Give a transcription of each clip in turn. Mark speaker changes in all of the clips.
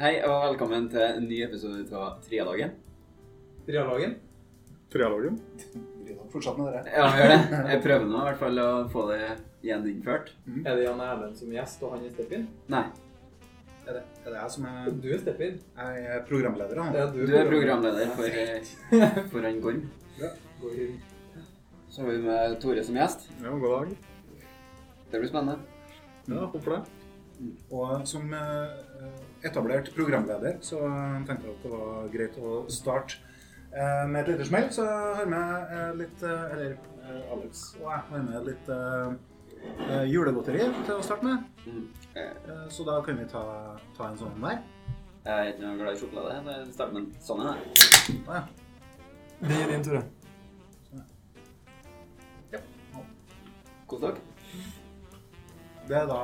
Speaker 1: Hei og velkommen til en ny episode av Trialogen.
Speaker 2: Trialogen?
Speaker 3: Trialogen?
Speaker 4: Fortsatt med dere.
Speaker 1: Ja, vi gjør det. Jeg prøver nå i hvert fall å få det igjen innført.
Speaker 2: Er det Jan Erlend som er gjest, og han er Steppin?
Speaker 1: Nei,
Speaker 4: Er det, er det jeg som er,
Speaker 2: Du er Steppin.
Speaker 4: jeg er programleder? Da.
Speaker 2: Ja,
Speaker 1: du er programleder for, eh, for han Gorm.
Speaker 2: Går inn.
Speaker 1: Så har vi med Tore som gjest.
Speaker 3: Ja, god dag.
Speaker 1: Det blir spennende.
Speaker 3: Ja, Håper det.
Speaker 4: Og som eh, etablert programleder så tenkte jeg at det var greit å starte eh, med et lite smell. Så jeg har med eh, litt eh, Eller eh, Alex og jeg har med litt eh, eh, julegodteri til å starte med.
Speaker 1: Mm. Eh,
Speaker 4: Eh, så da kan vi ta, ta en sånn der.
Speaker 1: Jeg er ikke noe glad i sjokolade. Det starter med sånn er det.
Speaker 4: Ah, ja.
Speaker 2: Det er din, Tore.
Speaker 1: Kos dere.
Speaker 4: Det er da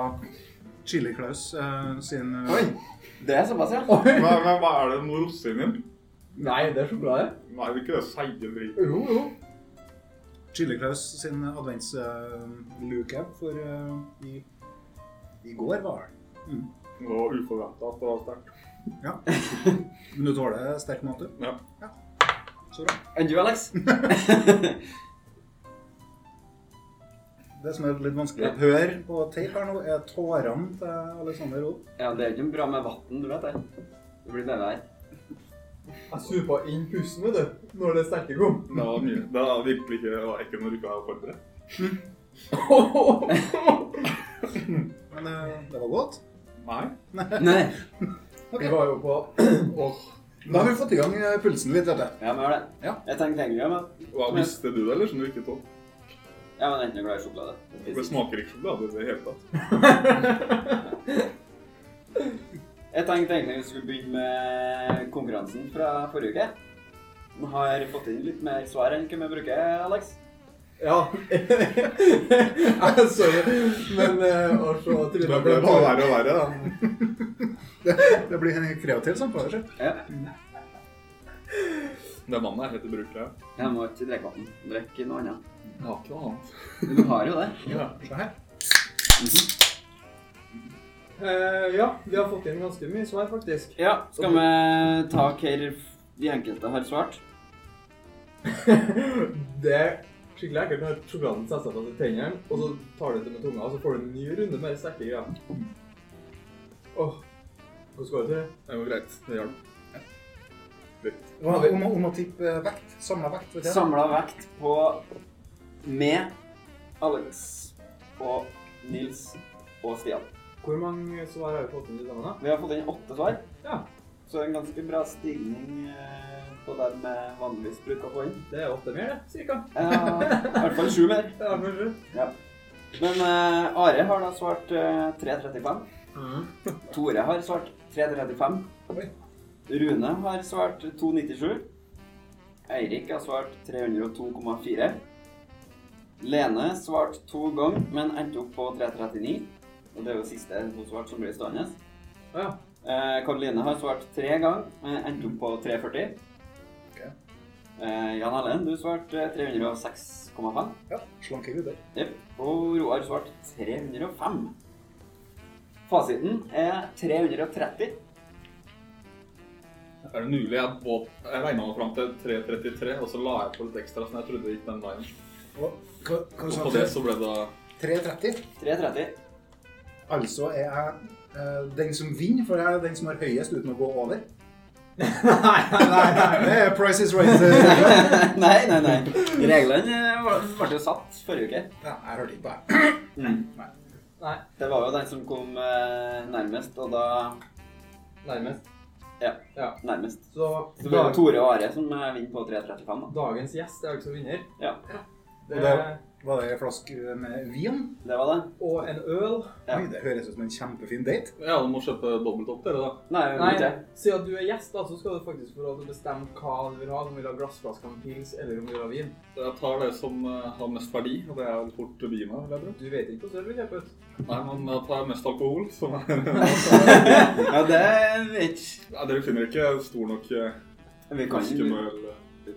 Speaker 4: Chili Claus eh, sin eh,
Speaker 1: Oi, det er såpass, ja.
Speaker 3: Men, men hva er det med rosinen?
Speaker 2: Nei, det er sjokolade.
Speaker 3: Nei, det er ikke det seige dritt.
Speaker 2: Jo, jo.
Speaker 4: Chili Claus sin adventsluke for eh, i, i går, var det.
Speaker 3: Det var uforventet at det var sterkt.
Speaker 4: Ja. Men du tåler sterk mat, du?
Speaker 3: Ja.
Speaker 4: Så bra.
Speaker 1: Enn du, Alex?
Speaker 4: Det som er litt vanskelig å høre på tape her nå, er tårene til Alexander Roth.
Speaker 1: Ja, det er ikke bra med vann, du vet det. Det blir med her.
Speaker 2: Jeg supa inn pusten, vet du, når det sterke kom.
Speaker 3: Det var mye. Det var virkelig ikke, det var ikke noe du ikke hadde forberedt.
Speaker 4: Men eh, det var godt.
Speaker 3: Nei.
Speaker 1: Nei.
Speaker 2: Vi var jo på Åh.
Speaker 4: Da har vi fått i gang eh, pulsen litt, vet du.
Speaker 1: Ja, men gjør det.
Speaker 4: Ja.
Speaker 1: Jeg tenkte egentlig om at
Speaker 3: Hva visste du det, eller som du ikke tok?
Speaker 1: Ja, men jeg er ikke noe glad i sjokolade.
Speaker 3: Det smaker ikke sjokolade i det hele tatt.
Speaker 1: Jeg tenkte egentlig vi skulle begynne med konkurransen fra forrige uke. Vi har fått inn litt mer svar enn hva vi bruker, Alex.
Speaker 2: Ja. Jeg, Sorry, men eh, å se
Speaker 3: Det
Speaker 2: Trine
Speaker 3: ble bare verre og verre, da.
Speaker 4: Det blir en kreativ samtale. sjef.
Speaker 1: Ja.
Speaker 3: Det vannet er helt ubrukelig.
Speaker 1: Jeg må ikke drikke vann. Drikk noe annet.
Speaker 3: Jeg har ikke noe annet.
Speaker 1: Men du har jo det.
Speaker 4: Ja, se her.
Speaker 1: Mhm.
Speaker 2: Eh, ja, vi har fått inn ganske mye svar, faktisk.
Speaker 1: Ja, skal vi ta hva de enkelte har svart?
Speaker 2: Det er skikkelig ekkelt når sjokoladen setter seg fast i tennene, og så tar du det med tunga, og så får du en ny runde med de sterke greiene. Åh, hvordan går det til?
Speaker 3: Det går greit. Det hjalp.
Speaker 4: Hva- Om, å- om å tippe eh, vekt. Samla vekt. vet du.
Speaker 1: Samla vekt på med Alex og Nils og Stian.
Speaker 2: Hvor mange svar har vi fått inn i sammen da?
Speaker 1: Vi har fått inn åtte svar,
Speaker 2: Ja,
Speaker 1: så det er en ganske bra stigning eh, på det vi vanligvis bruker å få inn.
Speaker 2: det er åtte mer det, cirka.
Speaker 1: Eh, I hvert fall sju mer.
Speaker 2: Det er kanskje.
Speaker 1: Men eh, Are har da svart eh, 3.35.
Speaker 2: Mm.
Speaker 1: Tore har svart 3.35.
Speaker 4: Oi.
Speaker 1: Rune har svart 2.97. Eirik har svart 302,4. Lene svart to ganger, men endte opp på 3.39. Og det er jo siste hun svarte som blir stående.
Speaker 2: Å ja.
Speaker 1: Eh, Karoline har svart tre ganger, men endte opp på 3.40.
Speaker 4: Ok.
Speaker 1: Eh, Jan Allen, du svarte eh, 306,5.
Speaker 4: Ja, slanke gutter.
Speaker 1: Jepp. Og Roar svarte 305. Fasiten er 330.
Speaker 3: Er det mulig? Jeg, både, jeg regnet meg fram til 3.33, og så la jeg på litt ekstra, som jeg trodde gikk den veien.
Speaker 4: Og hva hva
Speaker 3: Og
Speaker 4: sa
Speaker 3: på
Speaker 4: du?
Speaker 3: det så ble det
Speaker 4: 3.30.
Speaker 1: 330.
Speaker 4: Altså er jeg eh, den som vinner, for jeg er den som har høyest uten å gå over.
Speaker 2: Nei, nei, nei.
Speaker 4: Det er Price is right. eh,
Speaker 1: nei, nei, nei. Reglene eh, var- ble jo satt forrige uke.
Speaker 4: Ja, jeg hørte ikke på det.
Speaker 2: Nei,
Speaker 1: Det var jo den som kom eh, nærmest, og da
Speaker 2: nærmest.
Speaker 1: Ja,
Speaker 2: Ja.
Speaker 1: nærmest.
Speaker 2: Så,
Speaker 1: Så det var Tore og Are som eh, vinner på 335, da.
Speaker 2: dagens gjest er altså vinner.
Speaker 1: Ja,
Speaker 2: Det
Speaker 4: Og
Speaker 2: er,
Speaker 4: det- Var det en flaske med vin?
Speaker 1: det var det.
Speaker 2: og en øl.
Speaker 1: Ja.
Speaker 4: Oi, det høres ut som en kjempefin date.
Speaker 3: Ja, du må kjøpe dobbelt opp, dere, da.
Speaker 1: Nei, vi
Speaker 2: Nei,
Speaker 1: gjorde ikke.
Speaker 2: siden du er gjest da, så skal du faktisk få lov til å bestemme hva du vil ha. Om du vil ha glassflasker med pils, eller om du vil ha vin.
Speaker 3: Jeg tar det som eh, har mest verdi, og det er vel fort vina. vil jeg tro.
Speaker 2: Du vet ikke hvordan du vil kjøpe ut.
Speaker 3: Nei, men da tar jeg mest alkohol, som er
Speaker 1: Ja, det vet ikke.
Speaker 3: Nei, Dere finner ikke stor nok eh,
Speaker 1: Vi kan
Speaker 3: flaske med øl.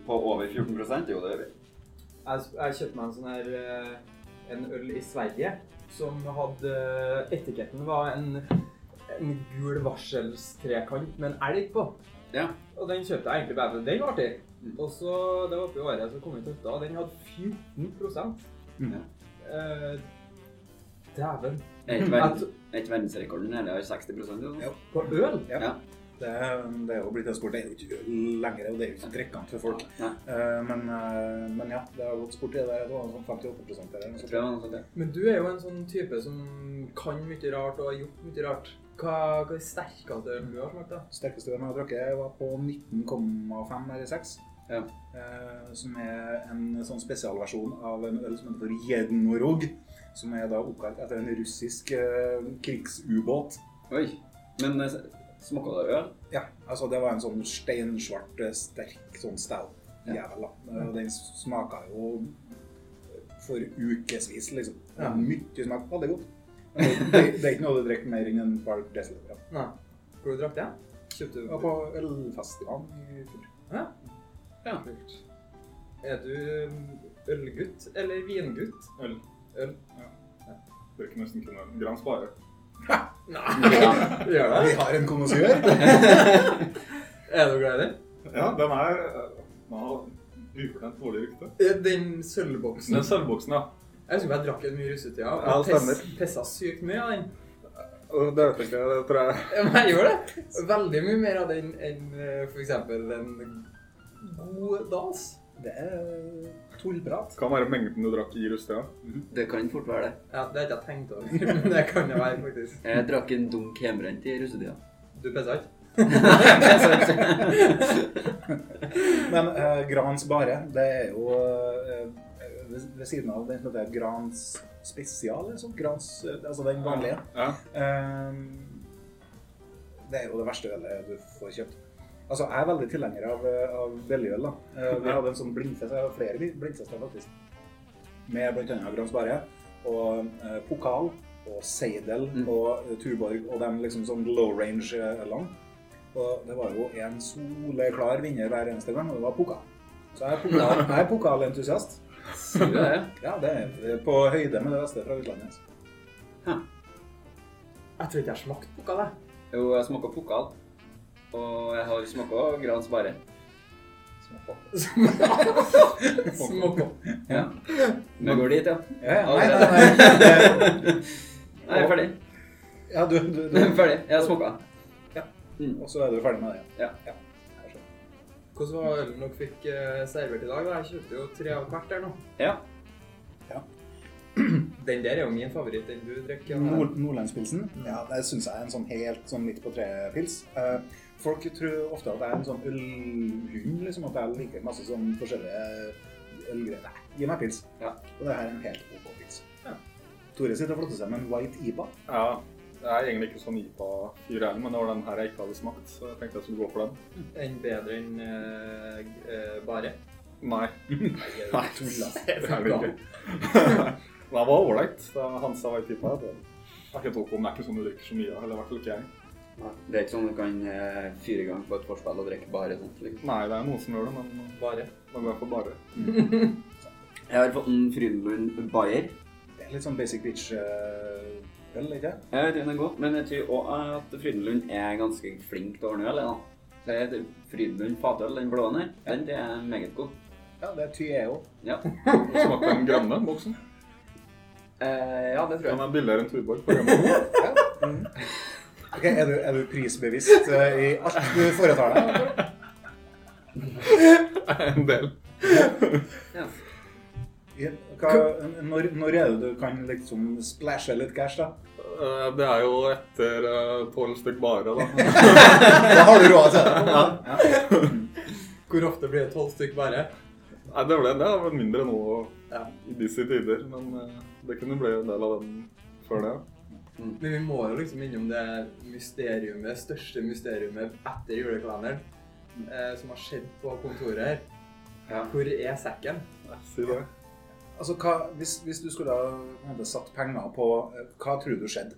Speaker 1: på over 14 Jo, det gjør vi.
Speaker 2: Jeg, jeg kjøpte meg en sånn her eh, en øl i Sverige som hadde Etiketten eh, var en en gul varselstrekant med en elg på.
Speaker 1: Ja.
Speaker 2: Og den kjøpte jeg egentlig bare for den var artig. Og så, det var oppi året som kom ut høtta, og den hadde 14
Speaker 4: Mm.
Speaker 2: eh, Dæven.
Speaker 1: Det er ikke
Speaker 2: Jeg
Speaker 1: verdens-
Speaker 2: tro-
Speaker 1: det er ikke verdensrekorden heller, jeg har 60 eller noe.
Speaker 4: Ja.
Speaker 2: På øl?
Speaker 1: Ja.
Speaker 4: Det, det er jo blitt en sport. Det er jo ikke øl lenger, og det er jo ikke drikkende for folk.
Speaker 1: Nei,
Speaker 4: Eh, men, eh, men ja, det har gått sport i det. Det var sånn 58 der. eller noe
Speaker 1: jeg
Speaker 4: sånt.
Speaker 1: tror det var noe sånt, ja.
Speaker 2: Men du er jo en sånn type som kan mye rart og har gjort mye rart. Hva, hva er sterkeste ølen du har smakt, da?
Speaker 4: Sterkeste den jeg har drukket, var på 19,5 eller 6.
Speaker 1: Ja.
Speaker 4: Eh, som er en sånn spesialversjon av en øl som heter for Jednorog. Som er da oppkalt etter en russisk eh, krigsubåt.
Speaker 1: Oi. Men eh, smakte det øl?
Speaker 4: Ja, altså det var en sånn steinsvart, eh, sterk sånn stout
Speaker 1: Ja.
Speaker 4: jævel. da. Eh, Og den smaka jo for ukevis, liksom.
Speaker 2: Ja.
Speaker 4: Mye smak. Veldig godt. Men Det, det er ikke noe du drikker mer enn en par desiliter av.
Speaker 2: Nei. Hvor du drakk den? Kjøpte
Speaker 4: Det var på ølfestivalen i fjor.
Speaker 1: Ja.
Speaker 2: Kult. Er du ølgutt eller vingutt?
Speaker 3: Øl.
Speaker 2: Øl.
Speaker 3: Bruker nesten kun en gram sparer.
Speaker 2: Nei, gjør det?
Speaker 4: Vi har en konnoissør.
Speaker 2: Er du glad i den?
Speaker 3: Ja, den er eh, Den har ufortjent dårlig rykte.
Speaker 2: Eh, Den sølvboksen.
Speaker 3: Den sølvboksen, ja.
Speaker 2: Jeg husker jeg drakk den mye i russetida.
Speaker 3: Ja,
Speaker 2: og
Speaker 3: det stemmer.
Speaker 2: pess- Pessa sykt mye av den.
Speaker 3: Og Det vet jeg ikke, det tror jeg
Speaker 2: Ja, men Jeg gjør det. Veldig mye mer av den enn eh, for eksempel en god dans.
Speaker 4: Det er tullprat.
Speaker 3: Kan være mengden du drakk i russetida.
Speaker 1: Det kan fort være det.
Speaker 2: Ja, Det har jeg ikke tenkt over, men det kan det være, faktisk.
Speaker 1: Jeg drakk en dunk hjemmebrent i russetida.
Speaker 2: Du pissa ikke?
Speaker 4: Men eh, Grans Bare, det er jo eh, ved, ved siden av den som heter Grans Spesial, eller sånn. Grans, eh, altså den vanlige.
Speaker 3: Ja.
Speaker 4: Ehm, det er jo det verste ølet du får kjøpt. Altså, Jeg er veldig tilhenger av, eh, av velgjøl. da. Eh, Vi hadde en sånn blindfest, jeg har flere bli- blindfester faktisk, med bl.a. Grans Barre og eh, Pokal og Seidel
Speaker 1: Mm.
Speaker 4: og eh, Tuborg og dem liksom sånn low range-ølene. Og det var jo en soleklar vinner hver eneste gang, og det var Pokal. Så jeg er pokal- jeg er pokalentusiast.
Speaker 1: Sier du det?
Speaker 4: Ja, det er på høyde med det beste fra utlandet. altså.
Speaker 2: Jeg tror ikke jeg smakte noe av det.
Speaker 1: Jo, jeg smakte pokal. Og jeg har smakka Grans Bare.
Speaker 2: Smakte.
Speaker 1: Ja. Vi går dit, ja.
Speaker 4: Ja, ja, nei, nei, nei. Det-
Speaker 1: Nei, jeg er ferdig.
Speaker 4: Ja, du, du,
Speaker 1: Jeg er
Speaker 4: du.
Speaker 1: ferdig. Jeg har smakka.
Speaker 4: Og så er du ferdig med det.
Speaker 1: Ja.
Speaker 4: Jeg skjønner.
Speaker 2: Hvordan var ølen dere fikk eh, servert i dag? da? Jeg kjøpte jo tre av hvert der nå.
Speaker 1: Ja.
Speaker 2: Den der er jo min favoritt, den du drikker. Janne.
Speaker 4: Nord Nordlandspilsen, ja, det syns jeg er en sånn helt sånn midt på treet-pils. Eh, folk tror ofte at jeg er en sånn ølhund, liksom, at jeg liker masse sånn forskjellige ølgreier. Nei, gi meg pils.
Speaker 1: Ja.
Speaker 4: Og det her er en helt OK pils.
Speaker 2: Ja.
Speaker 4: Tore sitter og flotter seg med en white IPA.
Speaker 3: ja. Jeg er egentlig ikke sånn IPA-fyr heller, men det var den her jeg ikke hadde smakt, så jeg tenkte jeg skulle gå for den.
Speaker 2: Den bedre enn eh, eh, bare.
Speaker 3: Nei.
Speaker 2: Nei,
Speaker 4: tulla.
Speaker 2: Det
Speaker 3: Det
Speaker 2: er
Speaker 3: er det
Speaker 2: bra.
Speaker 3: ikke. Den var ålreit. Det er Hansa var i tippa. Det er ikke tåk om det er ikke sånn du drikker så mye av, eller i hvert fall ikke jeg.
Speaker 1: Det er ikke sånn du kan eh, fyre i gang på et forspill og drikke bare sånt. Liksom.
Speaker 3: Nei, det er noen som gjør det, men
Speaker 2: Bare.
Speaker 3: da går jeg for bare.
Speaker 1: Jeg har fått en Frydenlund Bayer.
Speaker 4: Det er litt sånn basic bitch-øl, ikke sant?
Speaker 1: Jeg vet ikke om den er god, men jeg tror også at Frydenlund er ganske flink til å ordne øl. jeg, da. Så jeg heter Frydenlund Fatøl, den blå der, den tror jeg er meget god.
Speaker 4: Ja, det er E Tyeo.
Speaker 1: Ja,
Speaker 3: Smak den grønne boksen.
Speaker 1: eh, ja det tror
Speaker 3: Den
Speaker 1: jeg.
Speaker 3: er billigere enn Tuborg. på grønne.
Speaker 4: Ok, er du, er du prisbevisst eh, i alt du foretar deg?
Speaker 3: En del.
Speaker 1: Ja.
Speaker 4: Ja, Hva, når, når er det du kan liksom splæsje litt cash, da?
Speaker 3: Eh, Det er jo etter eh, tolv stykk bare, da.
Speaker 4: Da har du råd til det.
Speaker 2: Hvor ofte blir det tolv stykk bare?
Speaker 3: Nei, det ble det. har vært mindre nå
Speaker 2: Ja.
Speaker 3: i disse tider, men eh, det kunne bli en del av den før det.
Speaker 2: Men vi må jo liksom innom det mysteriumet, største mysteriumet etter julekalenderen eh, som har skjedd på kontoret her.
Speaker 1: Ja.
Speaker 2: Hvor er sekken?
Speaker 3: Nei, Si det.
Speaker 4: Altså, hva, hvis, hvis du skulle ha på en måte, satt penger på eh, Hva tror du skjedde?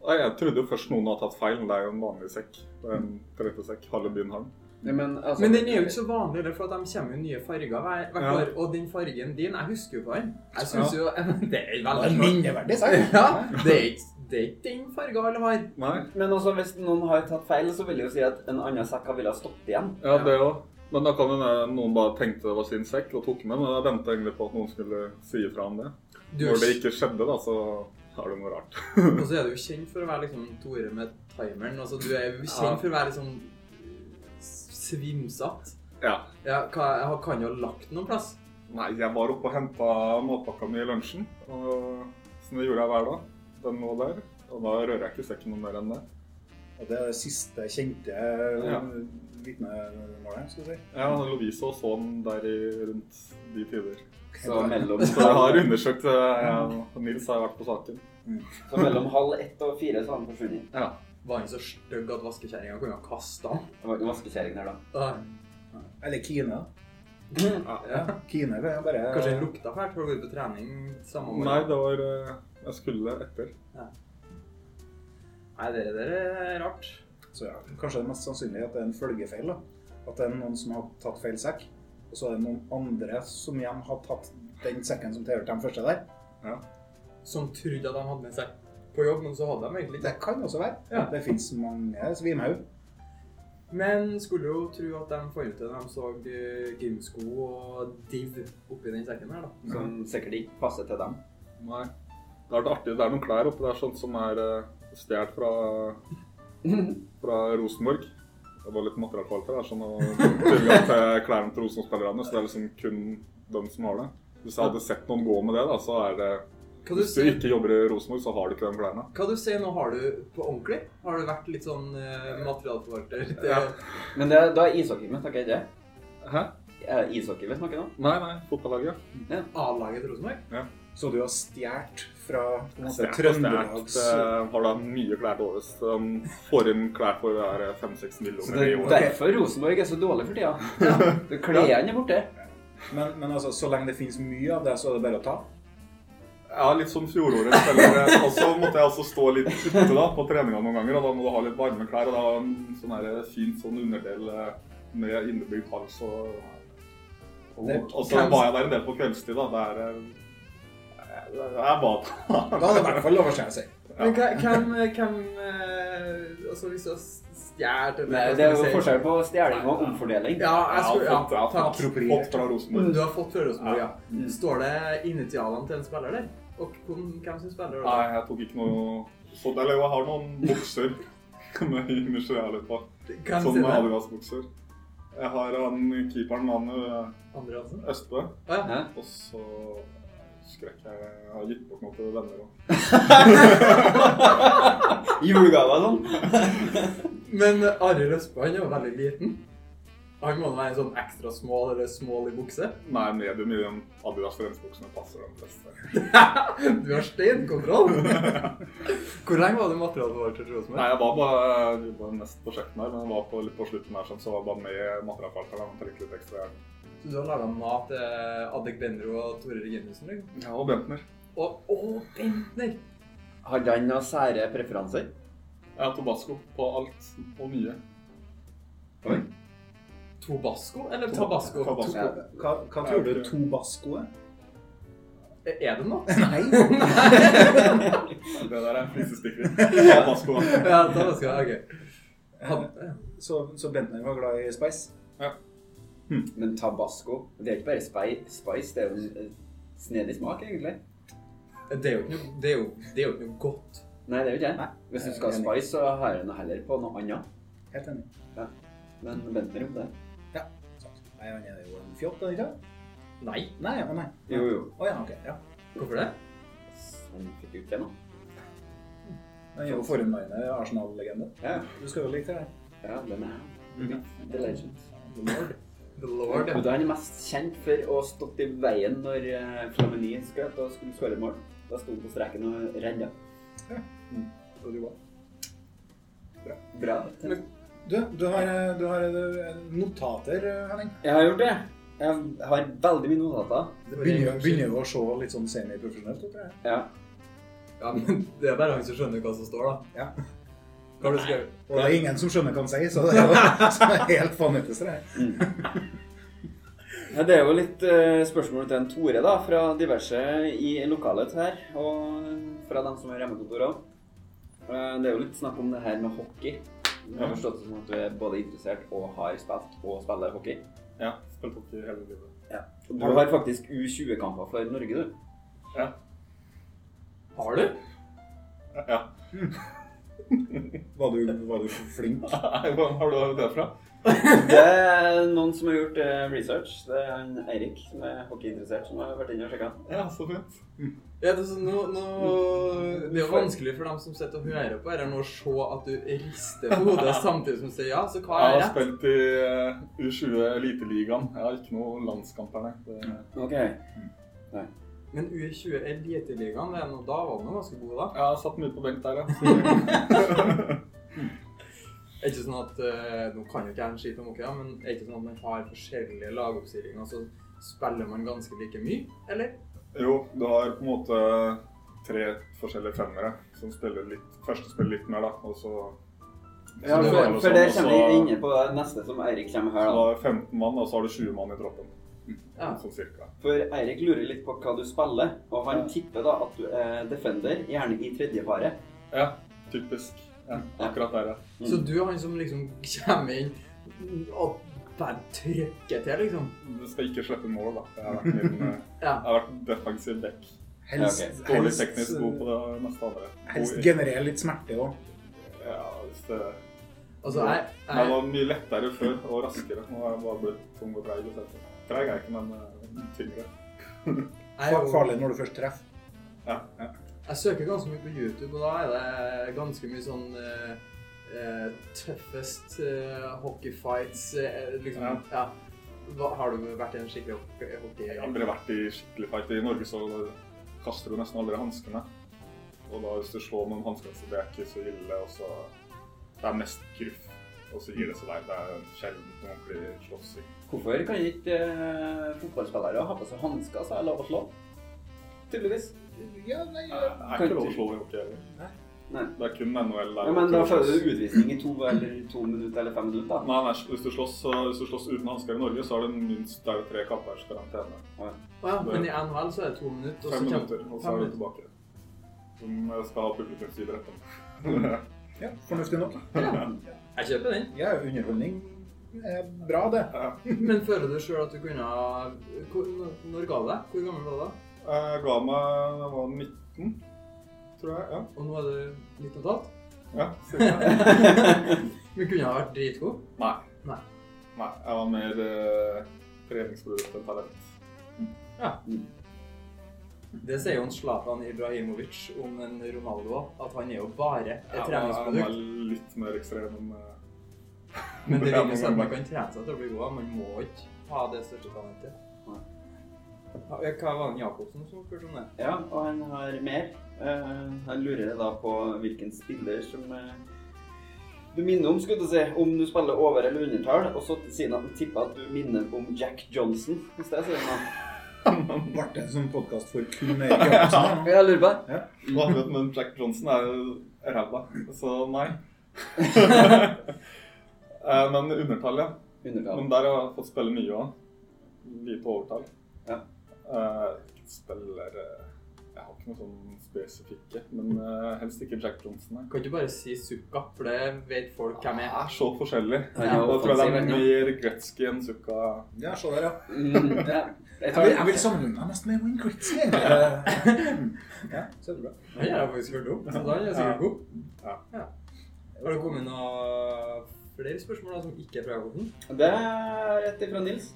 Speaker 3: Nei, Jeg trodde jo først noen hadde tatt feil, men det er jo en vanlig sekk. Det er En trefesekk. Halve byen har den.
Speaker 1: Nei, men, altså,
Speaker 2: Men den er jo ikke så vanlig, eller, for at de kommer jo nye farger hver, hvert
Speaker 3: Ja.
Speaker 2: år. Og den fargen din, jeg husker jo på den. Jeg syns jo Det er veldig
Speaker 4: minneverdig
Speaker 2: Ja, det er ikke Det er ikke den farga alle har.
Speaker 3: Nei.
Speaker 1: Men også hvis noen har tatt feil, så vil jeg jo si at en annen sekk ville ha stått igjen.
Speaker 3: Ja, det òg. Men da kan hende noen bare tenkte det var sin sekk og tok med. Men jeg venta egentlig på at noen skulle si ifra om det.
Speaker 2: Du er
Speaker 3: Når det
Speaker 2: s-
Speaker 3: ikke skjedde, da, så er det noe rart.
Speaker 2: Og så er du jo kjent for å være liksom Tore med timeren. Altså, du er jo
Speaker 3: Ja.
Speaker 2: kjent for å være liksom svimsatt.
Speaker 3: Ja.
Speaker 2: Ja, hva, jeg har- kan jo ha lagt den noen plass.
Speaker 3: Nei, jeg var oppe og henta matpakka mi i lunsjen. Og så det gjorde jeg hver dag. Den lå der. Og da rører jeg ikke sekken noe mer enn det.
Speaker 4: Og det er det siste kjente eh,
Speaker 3: Ja.
Speaker 4: vitnemålet, skal vi si.
Speaker 3: Ja, Lovise og så den der i, rundt de tider.
Speaker 1: Så mellom,
Speaker 3: Så jeg har undersøkt det. Jeg- Nils har vært på saken.
Speaker 1: så mellom halv ett og fire så har han forsvunnet.
Speaker 3: Ja.
Speaker 2: Var han så stygg at vaskekjerringa kunne ha kasta han?
Speaker 1: Det var ikke vaskekjerring der, da.
Speaker 2: Ah,
Speaker 4: Eller Kine.
Speaker 2: Ja.
Speaker 4: Kine kan jo bare
Speaker 2: Kanskje den lukta fælt? Har du vært på trening samme år?
Speaker 3: Nei, det var eh, Jeg skulle etter.
Speaker 2: Nei, dere, dere er rart.
Speaker 4: Så ja, kanskje det mest sannsynlig at det er en følgefeil. da. At det er noen som har tatt feil sekk, og så er det noen andre som igjen har tatt den sekken som tilhørte dem første der.
Speaker 2: Som trodde at de hadde med seg på jobb, men så hadde de egentlig ikke.
Speaker 4: Det kan også være.
Speaker 2: Ja.
Speaker 4: Det fins mange Altså, svimhaug.
Speaker 2: Men skulle jo tro at de fant ut det da de så eh, gymsko og div oppi den sekken her, da.
Speaker 1: Som sikkert ikke passer til dem.
Speaker 3: Nei. Det har vært artig. Det er noen klær oppe der sånt som er uh, stjålet fra, fra Rosenborg. Det var litt materialkvalitet der, sånn og tilgang til klærne til Rosenborg-spillerne. Så det er liksom kun dem som har det. Hvis jeg hadde sett noen gå med det, da, så er det
Speaker 2: Hva du
Speaker 3: Hvis du
Speaker 2: sier-
Speaker 3: ikke jobber i Rosenborg, så har du ikke de klærne.
Speaker 2: Hva du sier nå, har du på ordentlig? Har du vært litt sånn eh, materialforvalter? Litt, eh,
Speaker 3: Ja.
Speaker 1: Men det, da er ishockey vi snakker, ikke det?
Speaker 3: Hæ?
Speaker 1: Er det ishockey vi snakker nå?
Speaker 3: Nei, nei. Fotballaget.
Speaker 1: Mm.
Speaker 2: A-laget til Rosenborg?
Speaker 4: Så du har stjålet fra på en måte,
Speaker 3: Stjert og stjert,
Speaker 4: Trøndelags
Speaker 3: eh, Har da mye klær til årets. De får inn klær for eh, 5-6
Speaker 1: Så
Speaker 3: millioner
Speaker 1: det
Speaker 3: i
Speaker 1: er
Speaker 3: året.
Speaker 1: derfor Rosenborg er så dårlig for tida. Ja. Klærne er borte.
Speaker 4: men, men altså, så lenge det finnes mye av det, så er det bare å ta.
Speaker 3: Ja, litt som fjoråret. Eller også måtte jeg også stå litt ute da, på treninga noen ganger. Og da må du ha litt varme klær og da en sånn her fint sånn underdel eh, med innebygd hals. Og,
Speaker 4: Det-
Speaker 3: og så var jeg der en del på kveldstid. da, der eh, jeg- Jeg var
Speaker 4: Da er det i hvert fall lov å skjære seg.
Speaker 2: Men hva- hvem, eh, hvem eh, Altså, hvis du har stjålet eller
Speaker 1: Nei,
Speaker 2: hva
Speaker 1: det er
Speaker 2: skal
Speaker 1: jo
Speaker 2: vi si?
Speaker 1: forskjell på stjeling og omfordeling.
Speaker 2: Ja, jeg skulle
Speaker 3: Jeg har fått- jeg
Speaker 2: Ja,
Speaker 3: har
Speaker 2: takk.
Speaker 3: fått- fått fra Rosenborg.
Speaker 2: Mm. Du har fått fra Rosenborg, ja.
Speaker 1: Mm.
Speaker 2: Står det initialene til en spiller der? Og hvem hvem som spiller da?
Speaker 3: Nei, jeg tok ikke noe sånn. Eller jo, jeg har noen bukser med initialer på.
Speaker 2: Hvem
Speaker 3: Sånn
Speaker 2: sier
Speaker 3: med
Speaker 2: det?
Speaker 3: Adidas-bukser. Jeg har han keeperen, han eh,
Speaker 2: Andre Hansen?
Speaker 3: Østbø.
Speaker 2: Å ja.
Speaker 1: Hæ?
Speaker 3: Og så skrek jeg Jeg har gitt bort noe til venner òg.
Speaker 1: Julegave og sånn.
Speaker 2: Men eh, Arild Østbø, han er jo veldig liten. Han må da være en sånn ekstra small eller small i bukse.
Speaker 3: Nei, medium i de Adidas rensebuksene passer de fleste.
Speaker 2: Du har steinkontroll! Hvor lenge var det materialet til
Speaker 3: Nei,
Speaker 2: Rosenborg?
Speaker 3: jeg var bare jeg var mest på kjøkkenet her, men jeg var på, litt på slutten her, sånn, så var jeg bare med i materialfalkene og trykket litt ekstra jern.
Speaker 2: Så du har laga mat til Adek Benro og Tore Reginussen? liksom?
Speaker 3: Ja, og Bentner.
Speaker 2: Og Å, Bentner!
Speaker 1: Hadde han noen sære preferanser?
Speaker 3: Jeg har tobasco på alt og mye.
Speaker 2: Tobasco eller Tabasco?
Speaker 3: Tabasco.
Speaker 1: Ja.
Speaker 4: Hva, hva tror du tobasco er?
Speaker 2: Er det noe?
Speaker 4: Nei.
Speaker 3: Det der er flisespikker. Tabasco.
Speaker 2: Ja, Tabasco, ja, ok. eh, Hadde,
Speaker 4: Så, så Bentner var glad i Spice?
Speaker 1: Men tabasco Det er ikke bare spi- spice, det er jo en eh, snedig smak, egentlig.
Speaker 2: det, er jo ikke noe, det, er jo, det er jo ikke noe godt.
Speaker 1: Nei, det er jo ikke det. Hvis du skal ha
Speaker 4: Enig.
Speaker 1: spice, så har han heller på noe annet.
Speaker 4: Helt enig.
Speaker 1: Men Bentner gjorde det.
Speaker 4: Nei, han er jo en fjott, er han ikke? det?
Speaker 2: Nei.
Speaker 4: Nei, ja, nei.
Speaker 1: Jo, jo.
Speaker 4: Å ja, ok. Ja.
Speaker 2: Hvorfor det?
Speaker 1: Han fikk jo ikke det nå.
Speaker 4: Han er jo forhenværende Arsenal-legende.
Speaker 1: Ja,
Speaker 4: Du skal jo like det.
Speaker 1: ja, det med
Speaker 4: Mhm.
Speaker 1: The Mm. legend.
Speaker 2: The Lord. The
Speaker 1: Og
Speaker 2: Lord, ja.
Speaker 1: da er han mest kjent for å ha stått i veien når eh, Flamini skjøt og skulle skåre mål. Da sto han på streken og redda.
Speaker 4: Og du var.
Speaker 1: Bra.
Speaker 2: Men-
Speaker 4: Du, du har, eh, du har eh, notater, eh, Henning.
Speaker 1: Jeg har gjort det. Jeg har veldig mye notater.
Speaker 4: Det begynner, begynner jo å se litt sånn semiprofesjonelt ut. tror jeg.
Speaker 1: Ja.
Speaker 2: Ja, men det er bare han som skjønner hva som står, da.
Speaker 4: Ja.
Speaker 2: Hva har du skrevet?
Speaker 4: Og det er ingen som skjønner hva han sier, så det er jo så det er helt vanvittig. det her.
Speaker 1: Ja, det er jo litt eh, spørsmål til en Tore, da, fra diverse i lokalet her. Og fra dem som har hjemmekontor òg. Eh, Det er jo litt snakk om det her med hockey. Jeg har forstått det som at du er både interessert og har spilt og spiller hockey.
Speaker 3: Ja, spilt hockey hele livet.
Speaker 1: Du har faktisk U20-kamper for Norge, du.
Speaker 3: Ja.
Speaker 2: Har du?
Speaker 3: ja.
Speaker 4: Var du, var du flink?
Speaker 3: Nei, Hvor har du det fra?
Speaker 1: Det er noen som har gjort eh, research. Det er han Eirik som er hockeyinteressert, som har vært inne og sjekka.
Speaker 3: Ja, så fint.
Speaker 2: Ja, det, er sånn, nå, nå, det er jo vanskelig for dem som sitter og hører på dette, nå å se at du rister på hodet samtidig som du sier ja. Så hva
Speaker 3: Jeg
Speaker 2: er
Speaker 3: har
Speaker 2: rett?
Speaker 3: spilt i eh, U20 Eliteligaen. Jeg har ikke noen landskamp her, nei. Det...
Speaker 2: Mm.
Speaker 1: Ok.
Speaker 2: Men U20 Eliteligaen, det er noe- da var den jo ganske god, da.
Speaker 3: Jeg har satt mye på benk der, ja.
Speaker 2: Er ikke sånn at, eh, Nå kan jo ikke jeg en skit om hockey, da, men er ikke sånn at man har forskjellige lagoppstillinger, så spiller man ganske like mye, eller?
Speaker 3: jo, du har på en måte tre forskjellige femmere som spiller litt Første spiller litt mer, da, og så
Speaker 1: Ja,
Speaker 3: så
Speaker 1: for,
Speaker 3: det
Speaker 1: for der
Speaker 3: sånn, og
Speaker 1: kommer
Speaker 3: så-
Speaker 1: vi inne på det neste som Eirik kommer
Speaker 3: Så
Speaker 1: her,
Speaker 3: da
Speaker 1: da.
Speaker 3: er det 15 mann, og så har du 20 mann i troppen.
Speaker 2: Ja.
Speaker 3: Sånn cirka.
Speaker 1: For Eirik lurer litt på hva du spiller, og han tipper da at du er defender, gjerne i tredje paret.
Speaker 3: Ja, typisk. Ja, akkurat der, ja.
Speaker 2: Så
Speaker 1: Mm.
Speaker 2: du er han som liksom kommer inn og bare trykker til, liksom?
Speaker 3: Du skal ikke slippe mål, da. Jeg har vært, min, eh,
Speaker 2: Ja.
Speaker 3: jeg har vært defensiv back.
Speaker 4: Helst,
Speaker 1: Ja,
Speaker 3: Dårlig
Speaker 4: helst-
Speaker 3: teknisk god på det meste andre.
Speaker 4: Helst
Speaker 3: God i-
Speaker 4: generere litt smerte òg.
Speaker 3: Ja, hvis det...
Speaker 2: Altså, jeg,
Speaker 3: Men det
Speaker 2: jeg,
Speaker 3: var mye lettere før, og raskere. Nå har jeg bare blitt tung og treig. i stedet. Treig er jeg ikke, men eh, tyngre.
Speaker 2: jeg, er jo-
Speaker 4: Farlig når du først treffer.
Speaker 3: Ja.
Speaker 2: jeg søker ganske mye på YouTube, og da er det ganske mye sånn eh, eh, tøffest eh, hockeyfights eh, liksom, ja.
Speaker 3: Ja.
Speaker 2: Hva, har du vært i en skikkelig hockey... hockey
Speaker 3: Jeg har aldri vært i skikkelig fight. I Norge så kaster du nesten aldri hanskene. Og da hvis du slår med hanskene, så det er ikke så ille. Og så det er mest gruff. Og så gir det seg der. Det er sjelden noen ordentlig slåssing.
Speaker 1: Hvorfor kan ikke eh, fotballspillere ha på seg hansker så er det lov å slå? Tydeligvis.
Speaker 4: Ja, nei,
Speaker 3: Det er ikke lov å slå i hockey heller.
Speaker 4: Nei.
Speaker 1: Nei.
Speaker 3: Det er kun NHL. der.
Speaker 1: Ja, men da får du utvisning i to eller to minutter eller fem minutter. da.
Speaker 3: Nei, nei, hvis du, slåss, så- hvis du slåss uten hansker i Norge, så er det minst der tre kappers karantene.
Speaker 2: Å ja, men i NHL så er det to minutter, og så
Speaker 3: Fem
Speaker 2: kommer
Speaker 3: minutter, og så
Speaker 2: fem
Speaker 3: er du
Speaker 2: minutter.
Speaker 3: tilbake. Som jeg skal ha publikumsidrett om.
Speaker 4: Ja, fornuftig nok.
Speaker 2: Jeg kjøper den.
Speaker 4: Ja, underholdning er bra, det.
Speaker 2: Men føler du sjøl at du kunne ha hvor- når- Når ga det deg? Hvor gammel var du da?
Speaker 3: Jeg Eh, ga meg jeg var 19, tror jeg. Ja.
Speaker 2: Og nå er du litt og tatt?
Speaker 3: ja cirka.
Speaker 2: Men kunne ha vært dritgod?
Speaker 3: Nei.
Speaker 2: Nei.
Speaker 3: Nei. Jeg var mer eh, treningsprodukt enn talent.
Speaker 2: Det sier jo en Zlatan Ibrahimovic om en Ronaldo også, at han er jo bare et
Speaker 3: Jeg var- jeg var
Speaker 2: treningsprodukt.
Speaker 3: litt mer ekstrem enn eh,
Speaker 2: Men det
Speaker 3: Ja,
Speaker 2: virker
Speaker 3: men-
Speaker 2: som at man kan trene seg til å bli god. Man må ikke ha det største talentet.
Speaker 1: Nei.
Speaker 2: Ja, Hva var det Jacobsen som spurte om det?
Speaker 1: Ja, og han har mer. Eh, han lurer da på hvilken spiller som eh, du minner om, skulle du si, om du spiller over- eller undertall. Og så sier han at han tipper at du minner om Jack Johnson. Hvis det sier han da.
Speaker 4: Ble det en sånn podkast for kun Erik Jacobsen? da?
Speaker 1: Jeg lurer på det.
Speaker 3: du har rett, Men Jack Johnson er jo ræva, så nei. Eh, men undertall, ja.
Speaker 1: Undertall.
Speaker 3: Men der har jeg fått spille mye òg. Mye på overtall.
Speaker 1: Ja.
Speaker 3: Eh, spiller eh, Jeg har ikke noe sånn spesifikke, men eh, helst ikke Jack Johnson. Nei.
Speaker 2: Kan ikke bare si Sukka, for det vet folk hvem
Speaker 3: Jeg
Speaker 2: er.
Speaker 3: er så forskjellig.
Speaker 1: Han er
Speaker 3: Da tror jeg det
Speaker 1: offensiv,
Speaker 3: er mer Gretzky enn Sukka.
Speaker 4: Ja, se der, ja.
Speaker 1: Mm, ja. Jeg
Speaker 4: Jeg vil,
Speaker 1: tar
Speaker 4: jeg vil sammenligne meg mest med Wayne Gretzky. Eh, Ja, så bra.
Speaker 2: Han har jeg faktisk hørt om, så da er jeg sikkert god.
Speaker 3: Ja.
Speaker 2: Ja. Har det kommet noen flere spørsmål da, som ikke er fra Jacobsen?
Speaker 1: Det er rett ifra Nils.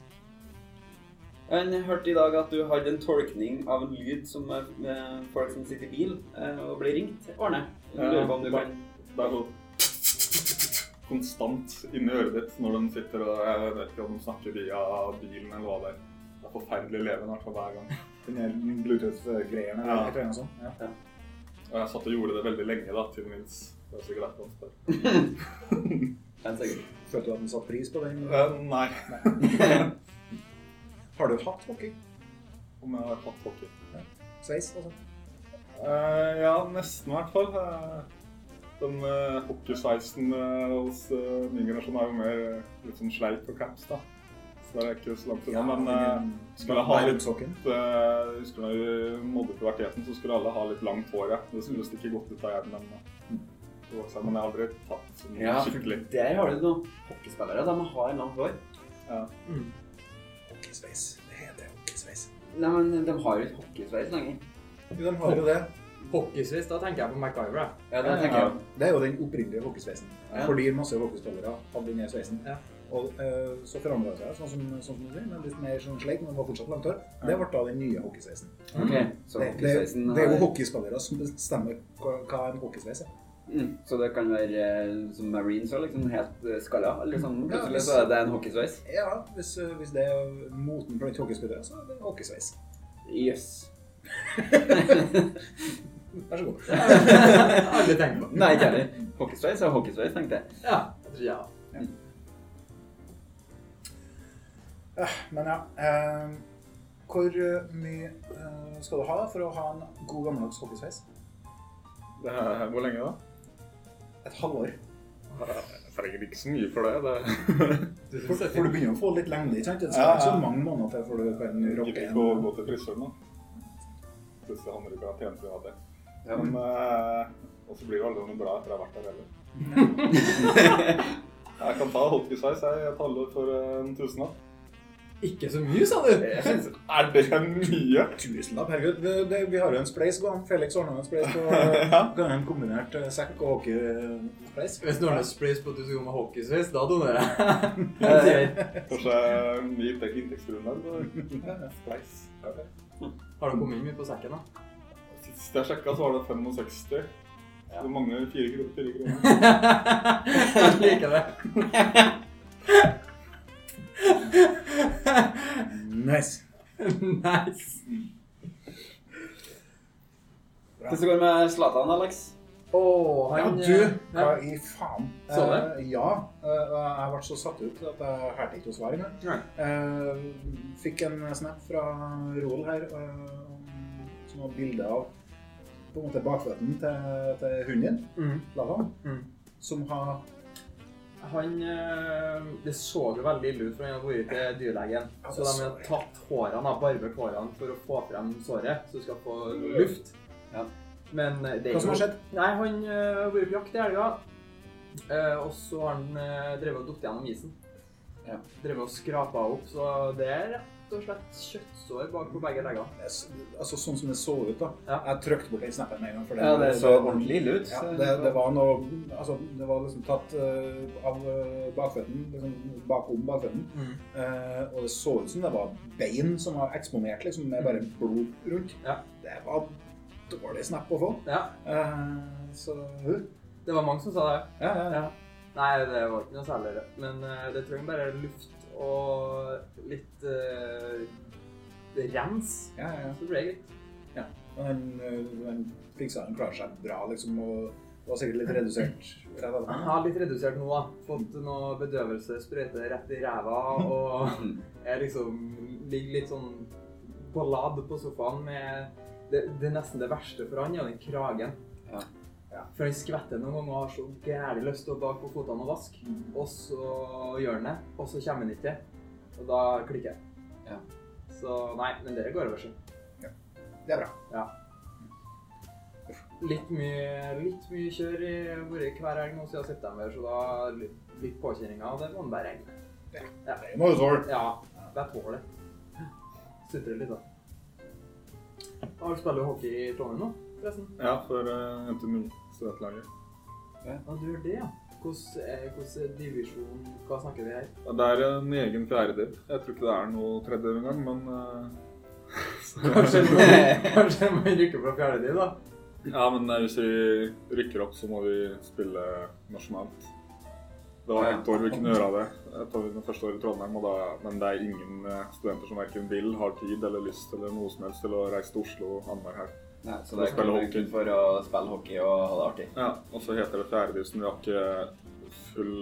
Speaker 1: Han hørte i dag at du hadde en tolkning av en lyd som eh, med folk som sitter i bil eh, og blir ringt, ordner. Jeg Lurer på om du kan
Speaker 3: Det er så konstant inni øret ditt når de sitter og Jeg vet ikke om de snakker via bilen eller hva det er. Det er forferdelig leven i hvert fall hver gang.
Speaker 4: Den der Bluetooth-greiene
Speaker 3: Ja.
Speaker 4: eller et eller annet sånt. Ja.
Speaker 3: Og jeg satt og gjorde det veldig lenge, da, til Nils. Det er sikkert derfor han spør.
Speaker 1: Den sikkert.
Speaker 4: Følte du at den satte pris på den?
Speaker 3: Eh, nei.
Speaker 4: Har du hatt hockey?
Speaker 3: Om jeg har tatt hockey.
Speaker 4: Sveis? Altså.
Speaker 3: Eh, ja, nesten i hvert fall. Eh, den uh, hockeysveisen eh, hos eh, min generasjon er jo mer eh, litt sånn sleip og caps, da. Så det er ikke så langt unna. men eh, skal jeg ha litt
Speaker 4: sokken?
Speaker 3: eh, jeg husker da vi nådde puberteten, så skulle alle ha litt langt hår. Ja. Det skulle stikke godt ut av hjernen. Men, eh, bokseren, men jeg har aldri tatt sånn
Speaker 1: Ja, for
Speaker 3: skikkelig.
Speaker 1: der har du noen hockeyspillere. De har langt hår.
Speaker 3: Ja.
Speaker 4: Hockeysveis. Det heter hockeysveis.
Speaker 1: Nei, men de har jo ikke hockeysveis lenger.
Speaker 4: Jo, de har jo det.
Speaker 2: Hockeysveis, da tenker jeg på MacGyver. jeg.
Speaker 1: Ja, det
Speaker 4: Ja,
Speaker 1: tenker jeg.
Speaker 4: Det er jo den opprinnelige hockeysveisen.
Speaker 1: Ja.
Speaker 4: Fordi masse hockeyspillere hadde den her sveisen.
Speaker 2: Ja.
Speaker 4: Og eh, så forandra det seg, sånn som, sånn som du sier, men litt mer sånn sleik, men det var fortsatt langt hår. Det ble da den nye hockeysveisen.
Speaker 1: Ok, så
Speaker 4: Det, det,
Speaker 1: hockeysveisen
Speaker 4: det er jo
Speaker 1: har-
Speaker 4: hockeyspillere som bestemmer hva, hva en hockeysveis er.
Speaker 1: Mm, så det kan være eh, som Marines og liksom helt eh, skalla? Eller sånn,
Speaker 4: Ja,
Speaker 1: plutselig
Speaker 4: hvis-
Speaker 1: så er det en hockeysveis?
Speaker 4: Ja, hvis, eh, hvis det er moten blant hockeyspillere, så er det hockeysveis.
Speaker 1: Jøss.
Speaker 4: Vær så god.
Speaker 2: Jeg har aldri tenkt på det.
Speaker 1: Nei, ikke heller. Hockeysveis er hockeysveis, tenkte jeg.
Speaker 2: Ja, jeg tror jeg. også.
Speaker 4: Eh, Men ja eh, Hvor eh, mye eh, skal du ha for å ha en god gammeldags hockeysveis?
Speaker 3: Det er, hvor lenge da?
Speaker 4: Et halvår.
Speaker 3: Jeg trenger ikke så mye for det. det
Speaker 2: Du synes det
Speaker 4: For,
Speaker 2: er
Speaker 4: for du
Speaker 2: fint.
Speaker 4: begynner å få litt lengde, ikke sant? Det skal
Speaker 3: Ja, ja.
Speaker 4: ikke så mange måneder til før du kan
Speaker 3: Jeg
Speaker 4: rocke
Speaker 3: Gidder ikke å
Speaker 4: en.
Speaker 3: gå til frisøren, da. Plutselig havner du i karantene fordi jeg hadde det.
Speaker 1: Ja.
Speaker 3: Men, eh, og så blir du aldri noe glad etter å ha vært der heller. jeg kan ta hockeysveis jeg, et halvår for eh, en tusenlapp.
Speaker 2: Ikke så mye, sa
Speaker 1: Eh,
Speaker 2: du?
Speaker 3: Jeg synes, Er det mye?
Speaker 4: Tusenlapp, herregud. Det, det, vi har jo en spleis gående. Felix ordna en spleis på
Speaker 3: Ja.
Speaker 4: gangen kombinert eh, sekk og hockeyspleis.
Speaker 2: Hvis noen har sprays på at du skal gå med hockeysveis, da donerer jeg.
Speaker 1: Eh,
Speaker 3: Kanskje vi gikk til inntektsgrunnlag? da. Spleis. Ja, det.
Speaker 2: Har du kommet inn mye på sekken, da?
Speaker 3: Sist jeg sjekka, så var det 65.
Speaker 1: Ja.
Speaker 3: Det mangler fire kroner. Fire kroner.
Speaker 2: Jeg liker det.
Speaker 4: Nice.
Speaker 2: Nice.
Speaker 1: Hvordan går det med Zlatan, Alex?
Speaker 2: Åh,
Speaker 4: Ja,
Speaker 2: han eh,
Speaker 4: du, eh, hva
Speaker 2: Ja.
Speaker 4: i faen?
Speaker 2: Så
Speaker 4: Eh, ja. eh, og jeg ble så satt ut at jeg hørte ikke å svare engang.
Speaker 2: Nei.
Speaker 4: Eh, fikk en snap fra Roald her eh, som var bilde av på en måte bakføtten til, til hunden din,
Speaker 2: Mm.
Speaker 4: Lavan,
Speaker 2: Mm.
Speaker 4: som har
Speaker 2: Han eh, Det så jo veldig ille ut, for han hadde vært til dyrlegen.
Speaker 4: Ja, det
Speaker 2: Så de
Speaker 4: så
Speaker 2: har
Speaker 4: jeg.
Speaker 2: tatt hårene, har barbert hårene for å få frem såret, så du skal få luft.
Speaker 1: Ja.
Speaker 2: Men eh, det er
Speaker 4: Hva som har
Speaker 2: jo
Speaker 4: skjedd?
Speaker 2: Nei, han eh, har vært på jakt i helga. Eh, og så har han eh, drevet og datt gjennom isen.
Speaker 1: Ja.
Speaker 2: Drevet og skrapa opp, så det er rett og slett kjøttsår bak på begge leggene.
Speaker 4: Jeg s- Altså Sånn som det så ut, da.
Speaker 2: Ja.
Speaker 4: Jeg trykte bort den snappen med en gang. For
Speaker 1: Ja, det så ordentlig ille ut.
Speaker 4: Ja, det, det var noe Altså, det var liksom tatt eh, av eh, bakføtten, liksom bakom bakføtten. Eh, og det så ut som det var bein som var eksponert, liksom, med bare
Speaker 1: Mm.
Speaker 4: blod rundt.
Speaker 2: Ja.
Speaker 4: Det var dårlig snap å få.
Speaker 2: Ja,
Speaker 4: Eh, så uh,
Speaker 2: det var mange som sa det.
Speaker 4: ja, ja, ja.
Speaker 2: Ja. Nei, det var ikke noe særlig rødt. Men eh, det trenger bare luft og litt eh, rens.
Speaker 4: ja, ja, ja.
Speaker 2: Så blir det greit.
Speaker 4: Men han, eh, han fiksa han klarer seg bra, liksom, og var sikkert litt redusert. rett etterpå.
Speaker 2: Jeg har litt redusert nå, da. Fått noe bedøvelse, sprøyte rett i ræva og jeg liksom ligger litt sånn på lad på sofaen med det, det er nesten det verste for han, er jo den kragen.
Speaker 1: Ja.
Speaker 2: Ja, For han skvetter noen ganger og har så gærlig lyst til å bak på fotene og vaske.
Speaker 1: Mm.
Speaker 2: Og så gjør han det, og så kommer han ikke. Og da klikker jeg.
Speaker 1: Ja.
Speaker 2: Så nei, men det går over seg.
Speaker 4: Det er bra.
Speaker 2: Ja. Litt mye, litt mye kjør i vært hver helg nå siden september, så da litt, litt påkjenninger. Det må han bare regne med.
Speaker 4: Det må jo tåle.
Speaker 2: Ja, jeg tåler det. Sutrer litt, da. Har du spiller hockey i Trondheim nå, forresten?
Speaker 3: Ja, for uh, NTNU studentlaget.
Speaker 2: Ja, du gjør det, ja. Hvordan er- hvordan er divisjon Hva snakker vi her?
Speaker 3: Ja, Det er en egen fjerdedel. Jeg tror ikke det er noe tredjedel engang, men eh,
Speaker 2: Kanskje man, kanskje man rykker fra fjerde div, da?
Speaker 3: Ja, men eh, hvis vi rykker opp, så må vi spille nasjonalt. Det var ett år vi kunne gjøre det. Et år, det første året i Trondheim, og da, men det er ingen eh, studenter som verken vil, har tid eller lyst eller noe som helst til å reise til Oslo annenhver helg.
Speaker 1: Nei, så det er kun for å spille hockey og ha det artig.
Speaker 3: Ja, og så heter det fjerdedivisjon. Vi har ikke full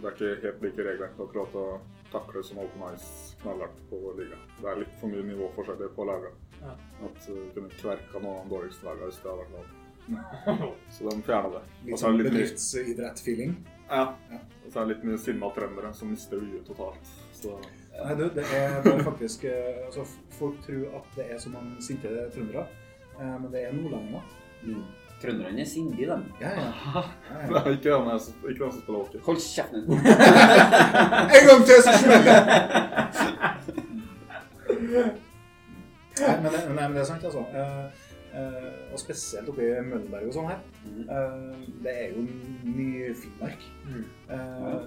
Speaker 3: Det er ikke helt like regler. Det er akkurat å takle som open ice knallhardt på vår liga. Det er litt for mye nivåforskjeller på lagene.
Speaker 2: Ja.
Speaker 3: At eh, vi kunne kverka noen av de dårligste lagene hvis det hadde vært lov. Så de fjerna det. Og
Speaker 4: Litt
Speaker 3: så er
Speaker 4: sånn
Speaker 3: det litt mye,
Speaker 4: bedriftsidrett-feeling.
Speaker 3: ja. Og så er det litt mye sinna trøndere som mister huet totalt. Så
Speaker 4: Nei, du, det er det er faktisk eh, altså,
Speaker 1: Mm.
Speaker 4: Folk tror at det er så mange sinte trøndere, eh, men det er nordlendinger.
Speaker 1: Trønderne er sindige, dem.
Speaker 4: Ja, ja. ja,
Speaker 3: Det
Speaker 4: ja.
Speaker 3: er ikke den her som- ikke den som spiller hockey.
Speaker 1: Hold kjeften din.
Speaker 4: En gang til, så smeller det! Nei, men, det- nei, men det er sant, altså. Eh, eh, og spesielt oppe i Møllenberg og sånn her.
Speaker 1: Mhm.
Speaker 4: Eh, det er jo mye Finnmark.
Speaker 2: Mm.
Speaker 4: Eh,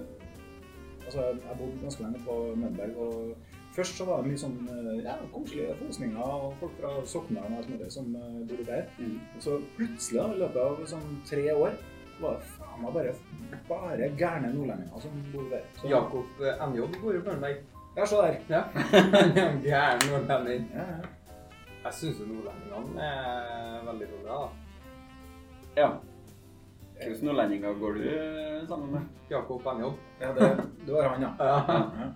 Speaker 4: altså, jeg bodde ganske lenge på Mønberg, og først så var det mye sånn eh, ja, koselige fosninger og folk fra Sokndalen og alt mulig som eh, bodde der.
Speaker 1: Mm.
Speaker 4: Og så plutselig, da, i løpet av sånn tre år, var det faen meg bare, bare gærne nordlendinger som bodde der. Så,
Speaker 2: Jakob eh, NJ bor jo på Møllenberg.
Speaker 4: Ja, se der.
Speaker 2: Ja. Han er en Gæren nordlending.
Speaker 4: Ja, ja.
Speaker 2: Jeg syns nordlendingene er veldig bra. da.
Speaker 1: Ja. Hvilke nordlendinger går du eh, sammen med?
Speaker 2: Jakob NJ.
Speaker 4: ja det, det var han, ja.
Speaker 2: Ja.
Speaker 4: ja.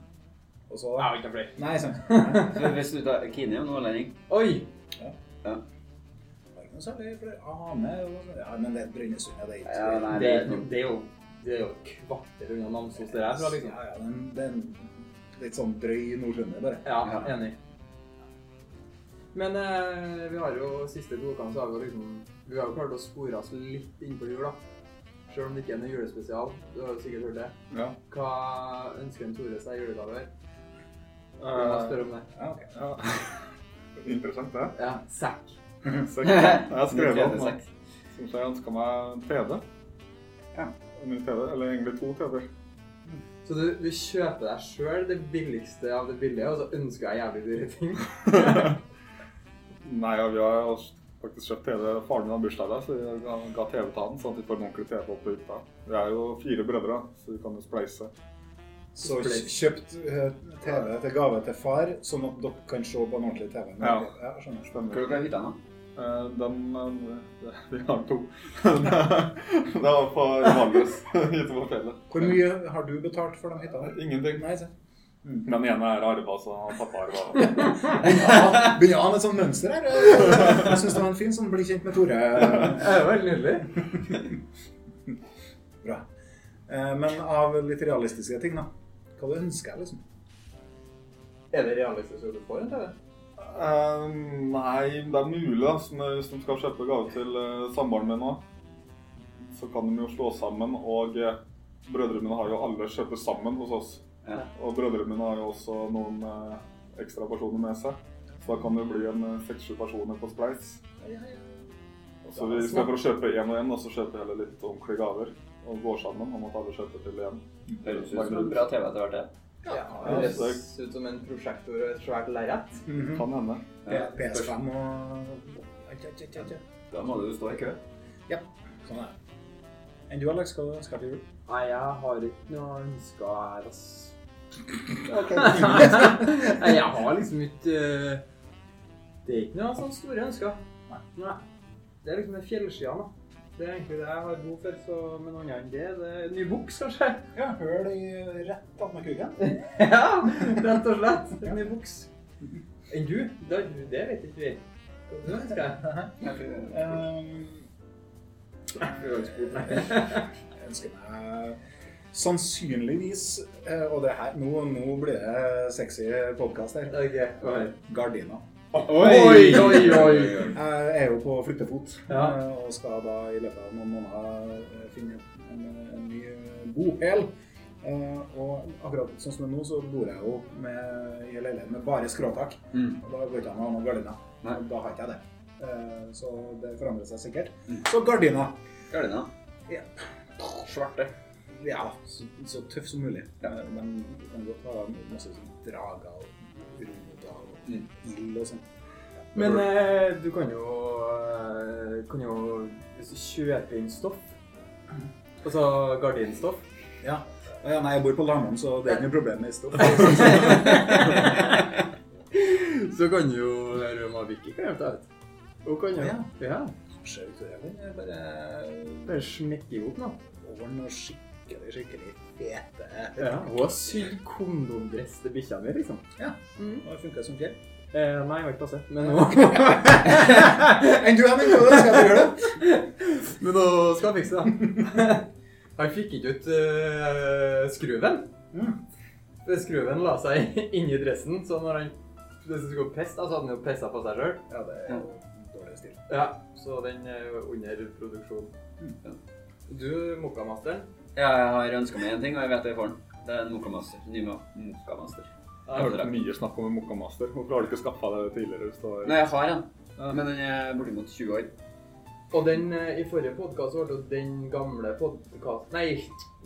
Speaker 4: Og så
Speaker 2: Jeg har ikke flere.
Speaker 4: Nei, sant. Nei,
Speaker 1: Så Hvis du tar Kine er jo nordlending.
Speaker 2: Oi!
Speaker 4: det var ikke noe særlig, for det- Ane og sånn. Ja, men det er Brønnøysund, ja, det er
Speaker 1: Ja, nei,
Speaker 2: Det er, det er jo det er jo et kvarter unna Namsos der jeg er fra, liksom.
Speaker 4: Ja, ja, den, den litt sånn drøy nordtrønder, bare.
Speaker 2: Ja,
Speaker 1: Ja.
Speaker 2: enig. Men eh, vi har jo siste to ukene, så har vi jo liksom Vi har jo klart å spore oss litt inn på jul, da. Selv om det ikke er noe julespesial. Du har jo sikkert hørt det.
Speaker 3: Ja.
Speaker 2: Hva ønsker en Tore seg i julegave? Vi må
Speaker 3: Eh,
Speaker 2: spørre om det.
Speaker 4: Ja, ok.
Speaker 3: ja. Interessant, det.
Speaker 2: Ja, sekk.
Speaker 3: Sekk. Jeg har skrevet
Speaker 1: Min
Speaker 3: opp
Speaker 1: tredje
Speaker 3: nå.
Speaker 1: sekk.
Speaker 3: Som jeg ønska meg en TV.
Speaker 1: Ja.
Speaker 3: Min TV, eller egentlig to TV-er.
Speaker 2: Så du, du kjøper deg sjøl det billigste av det billige, og så ønsker jeg jævlig dyre ting.
Speaker 3: Nei, ja, vi har faktisk kjøpt TV. Faren min har bursdag der, så vi ga- ga TV til han, sånn at vi får en ordentlig TV opp på hytta. Vi er jo fire brødre, så vi kan jo spleise.
Speaker 4: Så kj- kjøpt eh, TV til gave til far, sånn at dere kan se på en ordentlig TV.
Speaker 3: Ja.
Speaker 4: ja skjønner.
Speaker 1: Hva er
Speaker 3: Stemmer.
Speaker 1: det du hytta nå?
Speaker 3: Eh, den eh, Vi har to. det var på Malmøs hytte på fjellet.
Speaker 4: Hvor mye har du betalt for de hyttene?
Speaker 3: Ingenting.
Speaker 4: Nei, se.
Speaker 3: Den ene er arva, så han pappa arva.
Speaker 4: Ja, Begynner han et sånt mønster her? Jeg syns det var en fin sånn bli kjent med Tore.
Speaker 2: Det er jo veldig nydelig.
Speaker 4: Bra. Eh, Men av litt realistiske ting, da. Hva du ønsker jeg, liksom?
Speaker 2: Er det realistisk at du får en TV?
Speaker 3: Eh, nei, det er mulig. Altså, men hvis de skal kjøpe gave til uh, samboeren min nå, så kan de jo slå sammen. Og eh, brødrene mine har jo alle kjøpt sammen hos oss.
Speaker 1: Ja.
Speaker 3: Og brødrene mine har jo også noen eh, ekstra personer med seg. Så da kan det jo bli en eh, seks-sju personer på Spleis. Så
Speaker 1: altså.
Speaker 3: vi skal for å kjøpe én og én, da, så kjøper vi heller litt ordentlige gaver. Og går sammen om at alle kjøper til én.
Speaker 1: Høres ut som en bra TV etter hvert, det.
Speaker 2: Det høres ut som en prosjektor og et svært lerret.
Speaker 4: Mhm.
Speaker 3: Kan hende.
Speaker 1: Ja.
Speaker 4: PS5 og Ai, ai, ai, ai, ai.
Speaker 1: Da må du jo stå i kø.
Speaker 4: Sånn er det. Enn du, Alex, hva ønsker du til jul?
Speaker 2: Nei, jeg har ikke noe ønska her, ass.
Speaker 4: Okay.
Speaker 2: Nei, jeg har liksom ikke eh, Det er ikke noe sånn store ønsker.
Speaker 4: Nei.
Speaker 2: Nei. Det er liksom den fjellskia, da. Det er egentlig det jeg har behov for. Så, men annet enn det, det er ny buks, kanskje.
Speaker 4: Ja, høl i rett attmed kuken.
Speaker 2: ja, rett og slett. En ny buks. Enn du? Det, har du- det vet ikke vi. Hva du ønsker deg?
Speaker 4: Ehm, Jeg ønsker meg sannsynligvis eh, Og det her, nå, nå blir det sexy podkast her.
Speaker 2: Ok, kom her.
Speaker 4: Gardina.
Speaker 2: Oi, oi, oi.
Speaker 4: Jeg er jo på flyttefot
Speaker 2: Ja.
Speaker 4: eh, og skal da i løpet av noen måneder eh, finne en, en ny bopel. Eh, Og akkurat sånn som det er nå, så bor jeg jo med, i en leilighet med bare skråtak.
Speaker 1: Mm.
Speaker 4: Og Da går ikke an å ha noen gardiner.
Speaker 1: Nei.
Speaker 4: Og Da har ikke jeg det. Eh, Så det forandrer seg sikkert.
Speaker 1: Mm.
Speaker 4: Så gardina.
Speaker 1: Gardina.
Speaker 4: Ja.
Speaker 1: Svarte.
Speaker 4: Ja, så, så tøff som mulig.
Speaker 1: Ja.
Speaker 4: Eh, Men du kan godt ha masse sånn drager og roter og
Speaker 1: Mm.
Speaker 4: ild og sånn.
Speaker 2: Men eh, du kan jo, eh, kan jo Hvis du kjøper inn stoff Altså gardinstoff
Speaker 4: Ja. Å ja, nei, jeg bor på Lamoen, så det er ikke noe problem med stoff.
Speaker 2: Så kan jo Røma Vicky kan hjelpe deg ut. Hun kan jo
Speaker 4: Ja.
Speaker 2: ja.
Speaker 4: Kanskje Victoria vil bare
Speaker 2: Bare smekke i hop nå.
Speaker 4: over noe skikkelig, skikkelig fete
Speaker 2: Ja. Hun har sydd kondomdress til bikkja mi, liksom.
Speaker 4: Ja.
Speaker 2: Mm.
Speaker 4: Nå funker det som fjell.
Speaker 2: Eh, nei, jeg har ikke passet. Men hun,
Speaker 4: Enn du, Henning, hva skal du gjøre? det?
Speaker 2: men hun skal fikse det. da. Han fikk ikke ut eh, skruven. Mm. Skruven la altså, seg inni dressen, så når han plutselig skulle pisse, da, så hadde han jo pissa på seg sjøl.
Speaker 4: Ja, det er jo dårlig stil.
Speaker 2: Ja, så den er jo under produksjon.
Speaker 1: Ja.
Speaker 2: Du, Mokkamasteren.
Speaker 1: Ja, jeg har ønska meg en ting, og jeg vet jeg får den. Det er en Mokamaster. Ny Mokamaster.
Speaker 3: Jeg har hørt mye snakk om en Mokamaster. Hvorfor har du ikke skaffa det tidligere? hvis du har-
Speaker 1: Nei, jeg har en, men den er bortimot 20 år.
Speaker 2: Og den eh, i forrige podkast ble jo den gamle podkast... Nei,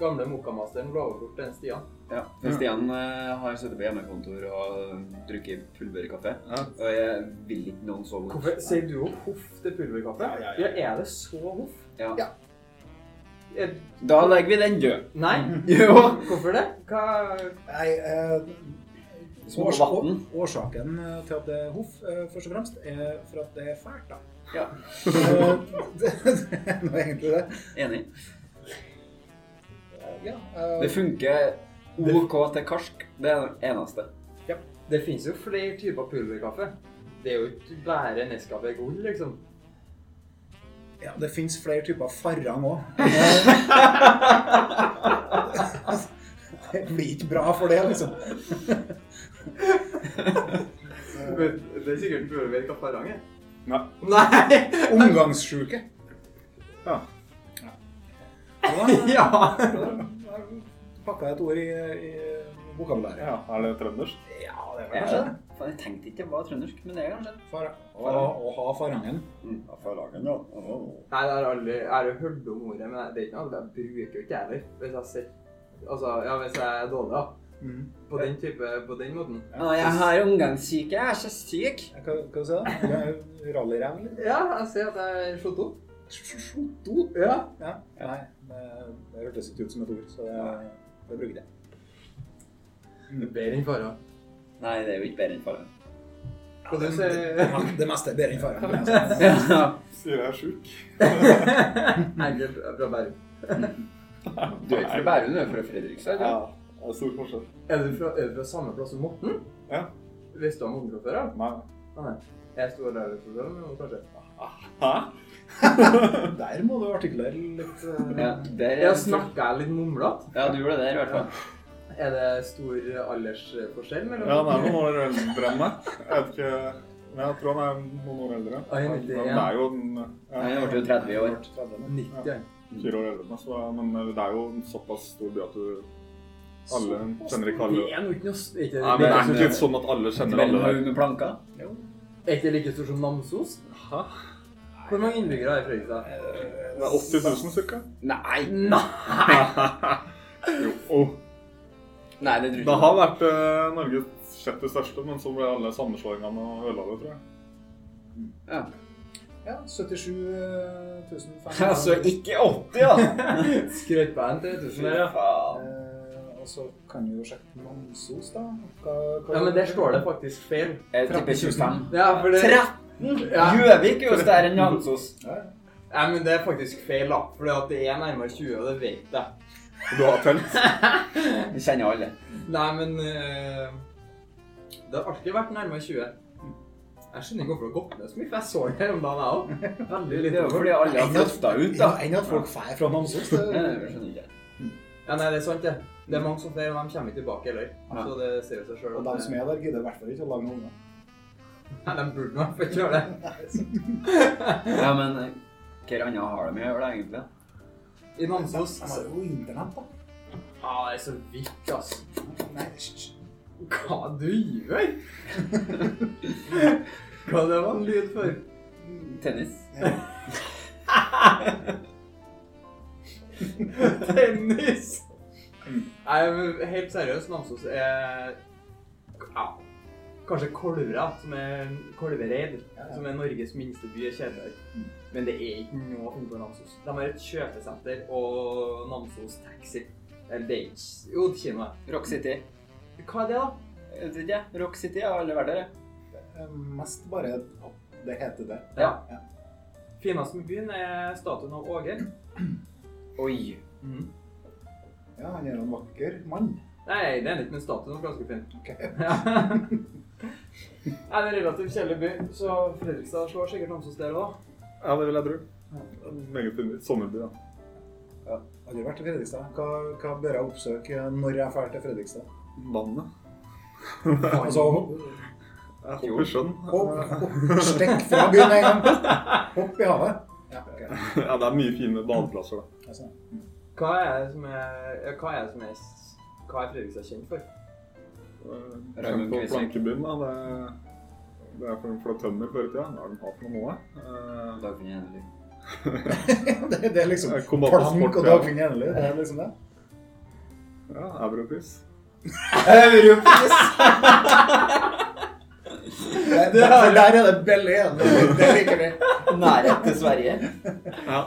Speaker 2: gamle Mokkamasteren ble jo bort den Stian.
Speaker 1: Ja. Men Stian eh, har sittet på hjemmekontor og drukket pulverkaffe.
Speaker 3: Ja.
Speaker 1: Og jeg vil ikke noen så godt.
Speaker 2: Hvorfor sier du jo hoff til pulverkaffe?
Speaker 4: Ja, ja, ja.
Speaker 2: ja, er det så hoff?
Speaker 1: Ja.
Speaker 4: Ja.
Speaker 2: Er...
Speaker 1: Da legger vi den død.
Speaker 2: Nei?
Speaker 1: Jo.
Speaker 2: Hvorfor det? Mhm. Hva
Speaker 4: Nei, eh,
Speaker 1: Som vatten.
Speaker 4: årsaken eh, til at det er hoff, eh, først og fremst, er for at det er fælt, da.
Speaker 1: Ja.
Speaker 4: Eh, det, det er nå egentlig det.
Speaker 1: Enig.
Speaker 4: Eh, Ja, eh,
Speaker 1: Det funker OK til karsk. Det er det eneste.
Speaker 2: Det fins jo flere typer pulverkaffe. Det er jo ikke bare Nescafé Gold, liksom.
Speaker 4: ja, det fins flere typer farrang òg. det blir ikke bra for det, liksom. Eh,
Speaker 2: Men det er sikkert før du vet hva farang er.
Speaker 3: Nei.
Speaker 2: Nei!
Speaker 4: Omgangssjuke.
Speaker 3: Ja.
Speaker 4: Da,
Speaker 2: Ja!
Speaker 4: da, da pakka jeg et ord i, i vokabulæret.
Speaker 3: Ja, Er det trøndersk?
Speaker 4: Ja, det var
Speaker 1: Er
Speaker 4: kanskje
Speaker 1: det?
Speaker 4: det.
Speaker 1: Faen, Jeg tenkte ikke det var trøndersk, men det er kanskje det.
Speaker 4: Far, å, å ha farangen.
Speaker 1: Mm, Ja, for lagen, ja.
Speaker 2: Nei, jeg har aldri jeg har hørt om ordet, men det er ikke noe jeg bruker jo ikke heller. Hvis jeg ser Altså, ja, hvis jeg er dårlig, da.
Speaker 4: Mm.
Speaker 2: På den type, på den måten.
Speaker 1: Å, jeg har omgangssyke. Jeg er så syk.
Speaker 4: Hva, hva sa du? Jeg er jo Rallyræv, eller?
Speaker 2: Ja, jeg ser at jeg er slått opp.
Speaker 4: Sjoto?
Speaker 2: Ja.
Speaker 4: Ja. Nei, det, det hørtes ikke ut som et ord, så det, det brukte jeg.
Speaker 2: Bedre enn fara.
Speaker 1: Nei, det er jo ikke bedre enn fargen.
Speaker 2: Kan du se
Speaker 4: Det- Det meste er bedre enn faren.
Speaker 3: Sier jeg er sjuk?
Speaker 2: Enkelt fra Bærum.
Speaker 1: Du er ikke fra Bærum, du er fra Fredrikstad?
Speaker 3: Ja. Det er stor forskjell.
Speaker 2: Er du fra, er du fra samme plass som Morten?
Speaker 3: Ja.
Speaker 2: Visste du om Morten fra før av?
Speaker 3: Nei.
Speaker 2: Nei. Jeg sto der litt for men kanskje.
Speaker 3: Hæ?
Speaker 4: Der må du artikulere litt. eh,
Speaker 1: Ja, der er
Speaker 2: Jeg snakka jeg litt mumlete.
Speaker 1: Ja, du gjorde det der, i hvert fall.
Speaker 2: Er det stor aldersforskjell mellom
Speaker 3: Ja, han er noen år eldre enn meg. Jeg vet ikke Men jeg tror han er noen år eldre.
Speaker 2: Ah, jeg er
Speaker 3: Men
Speaker 2: litt-
Speaker 3: det
Speaker 2: ja.
Speaker 3: er jo en
Speaker 1: Nei,
Speaker 3: ja,
Speaker 1: Jeg ble jo 30 i år.
Speaker 4: 30 nå.
Speaker 2: 90 ja.
Speaker 3: fire år eldre enn meg, så Men det er jo en såpass stor by at du Alle kjenner ikke
Speaker 2: Det
Speaker 3: alle.
Speaker 2: er nok ikke noe s- er ikke-
Speaker 3: Nei, men det
Speaker 2: er
Speaker 3: er ikke litt sånn at alle kjenner alle
Speaker 1: Mellom
Speaker 3: der.
Speaker 1: med planka.
Speaker 4: Jo.
Speaker 2: Er ikke det like stor som Namsos?
Speaker 3: Hæ?
Speaker 2: Hvor mange innbyggere er det i Fredrikstad?
Speaker 3: Det er 80 000 ca.
Speaker 1: Nei!
Speaker 2: Nei!
Speaker 3: Jo. Oh.
Speaker 1: Nei, det tror
Speaker 3: Det
Speaker 1: jeg
Speaker 3: har vært eh, Norges sjette største, men så ble alle sammenslåingene og ødela det, tror jeg.
Speaker 1: ikke. Ja.
Speaker 4: Ja, eh, 77
Speaker 1: Ja, så
Speaker 3: altså,
Speaker 4: 500.
Speaker 1: Altså, ikke 80, da!
Speaker 2: Skrøt på en 3000 der, ja.
Speaker 1: faen.
Speaker 4: Eh, Og så kan du jo sjekke Namsos, da.
Speaker 2: Ja, men der står det faktisk feil.
Speaker 1: Jeg tipper 25.
Speaker 2: Ja, for det...
Speaker 1: 13!
Speaker 2: Ja.
Speaker 1: Gjøvik er jo større enn Namsos.
Speaker 2: Nei, men det er faktisk feil, da. Fordi at det er nærmere 20, og det vet jeg.
Speaker 3: Du har telt?
Speaker 1: Vi kjenner alle.
Speaker 2: Nei, men eh, Det har alltid vært nærmere 20. Jeg skjønner ikke hvorfor det har gått ned så mye, for jeg så det her om dagen, jeg òg. Veldig
Speaker 1: Det er
Speaker 2: lite
Speaker 1: jo
Speaker 2: over.
Speaker 1: fordi alle har flytta ut, da.
Speaker 4: Ja, enn at folk drar fra Namsos. det-
Speaker 1: Ja, jeg skjønner ikke.
Speaker 2: Ja, nei, det er sant, det. Det er mange som flere, og de kommer ikke tilbake heller. Så det sier jo seg sjøl.
Speaker 4: Og de som er der, gidder i hvert fall ikke å lage noen unger.
Speaker 2: Nei, de burde nok få gjøre det.
Speaker 1: Ja, men eh, hva annet har de å gjøre, da, egentlig?
Speaker 2: I Namsos
Speaker 4: De har jo internett, da.
Speaker 2: Ja, det er så vidt, ass.
Speaker 4: Nei, hysj.
Speaker 2: Hva du gjør? Hva det var en lyd for?
Speaker 1: Tennis?
Speaker 2: Tennis! Nei, men helt seriøst, Namsos er ja, Kanskje Kolvra, som er Kolvereid,
Speaker 4: Ja, Mm. ja.
Speaker 2: som er Norges minste by, er kjedeligere. Men det er ikke noe å finne på Namsos. De har et kjøpesenter og Namsos Taxi. Eller det er ikke Jo, kinoet.
Speaker 1: Rock City?
Speaker 2: Hva er det, da?
Speaker 1: Jeg vet ikke. Rock City har alle vært der, jeg.
Speaker 4: Eh, Mest bare at det heter det.
Speaker 2: Ja. Fineste med byen er statuen av Åge.
Speaker 1: Oi.
Speaker 4: Mm. Ja, han er jo en vakker mann.
Speaker 2: Nei, det er den ikke, men statuen var ganske fin.
Speaker 4: Ok.
Speaker 2: Nei, det er en relativt kjedelig by, så Fredrikstad slår sikkert Namsos der òg.
Speaker 3: Ja, det vil jeg tro. Meget fin sommerby, ja.
Speaker 4: Aldri vært til Fredrikstad. Hva, hva bør jeg oppsøke når jeg drar til Fredrikstad?
Speaker 2: altså,
Speaker 3: Vannet.
Speaker 4: Altså,
Speaker 3: Jeg hopper i sjøen.
Speaker 4: Hopp, hopp, stekk fra byen en gang. Hopp i havet. Ja, ok. sånn.
Speaker 3: Ja, det er mye fine badeplasser, da.
Speaker 4: Jeg ser.
Speaker 2: Hva er det som er, ja, hva er, det som er, s- hva er Fredrikstad kjent for?
Speaker 3: Eh,
Speaker 1: Raymond
Speaker 3: Kjent på
Speaker 1: Kvisvik.
Speaker 3: plankebunn, da. Det, det er for en flott tømmer før i tida. Hva er det de har for noe nå, da?
Speaker 1: Dagfinn Henrik.
Speaker 4: Det, det er liksom
Speaker 3: Eh, Kombat og
Speaker 4: Plank
Speaker 3: sport.
Speaker 4: og
Speaker 3: Ja,
Speaker 4: Dagfinn Jernli. Det er liksom det.
Speaker 3: ja Europris.
Speaker 1: Europris!
Speaker 4: Der, der, der er det Belle igjen. Det liker vi.
Speaker 1: Nærhet til Sverige.
Speaker 3: Ja.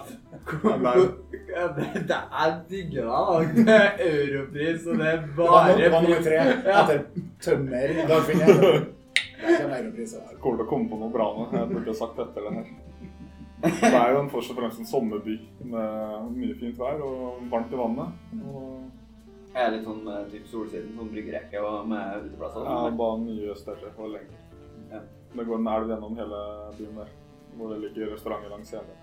Speaker 2: Ja, det, det er digger deg, da. Det er Europris, og det er
Speaker 4: Det var
Speaker 2: bare
Speaker 4: no- var nummer tre
Speaker 2: Ja.
Speaker 4: etter tømmer. Dagfinn Jernli. Det er europris, altså.
Speaker 3: Jeg kommer til å komme på noe bra nå. Jeg burde ha sagt etter det her. Det er jo en først og fremst en sommerby med mye fint vær og varmt i vannet. Og
Speaker 1: Jeg er litt sånn med typ solsiden, sånn bryggerekke og sånn. med uteplasser.
Speaker 3: ja, bare mye større og lenger.
Speaker 1: Ja.
Speaker 3: Det går en elv gjennom hele byen der, hvor det ligger restauranter langs hele.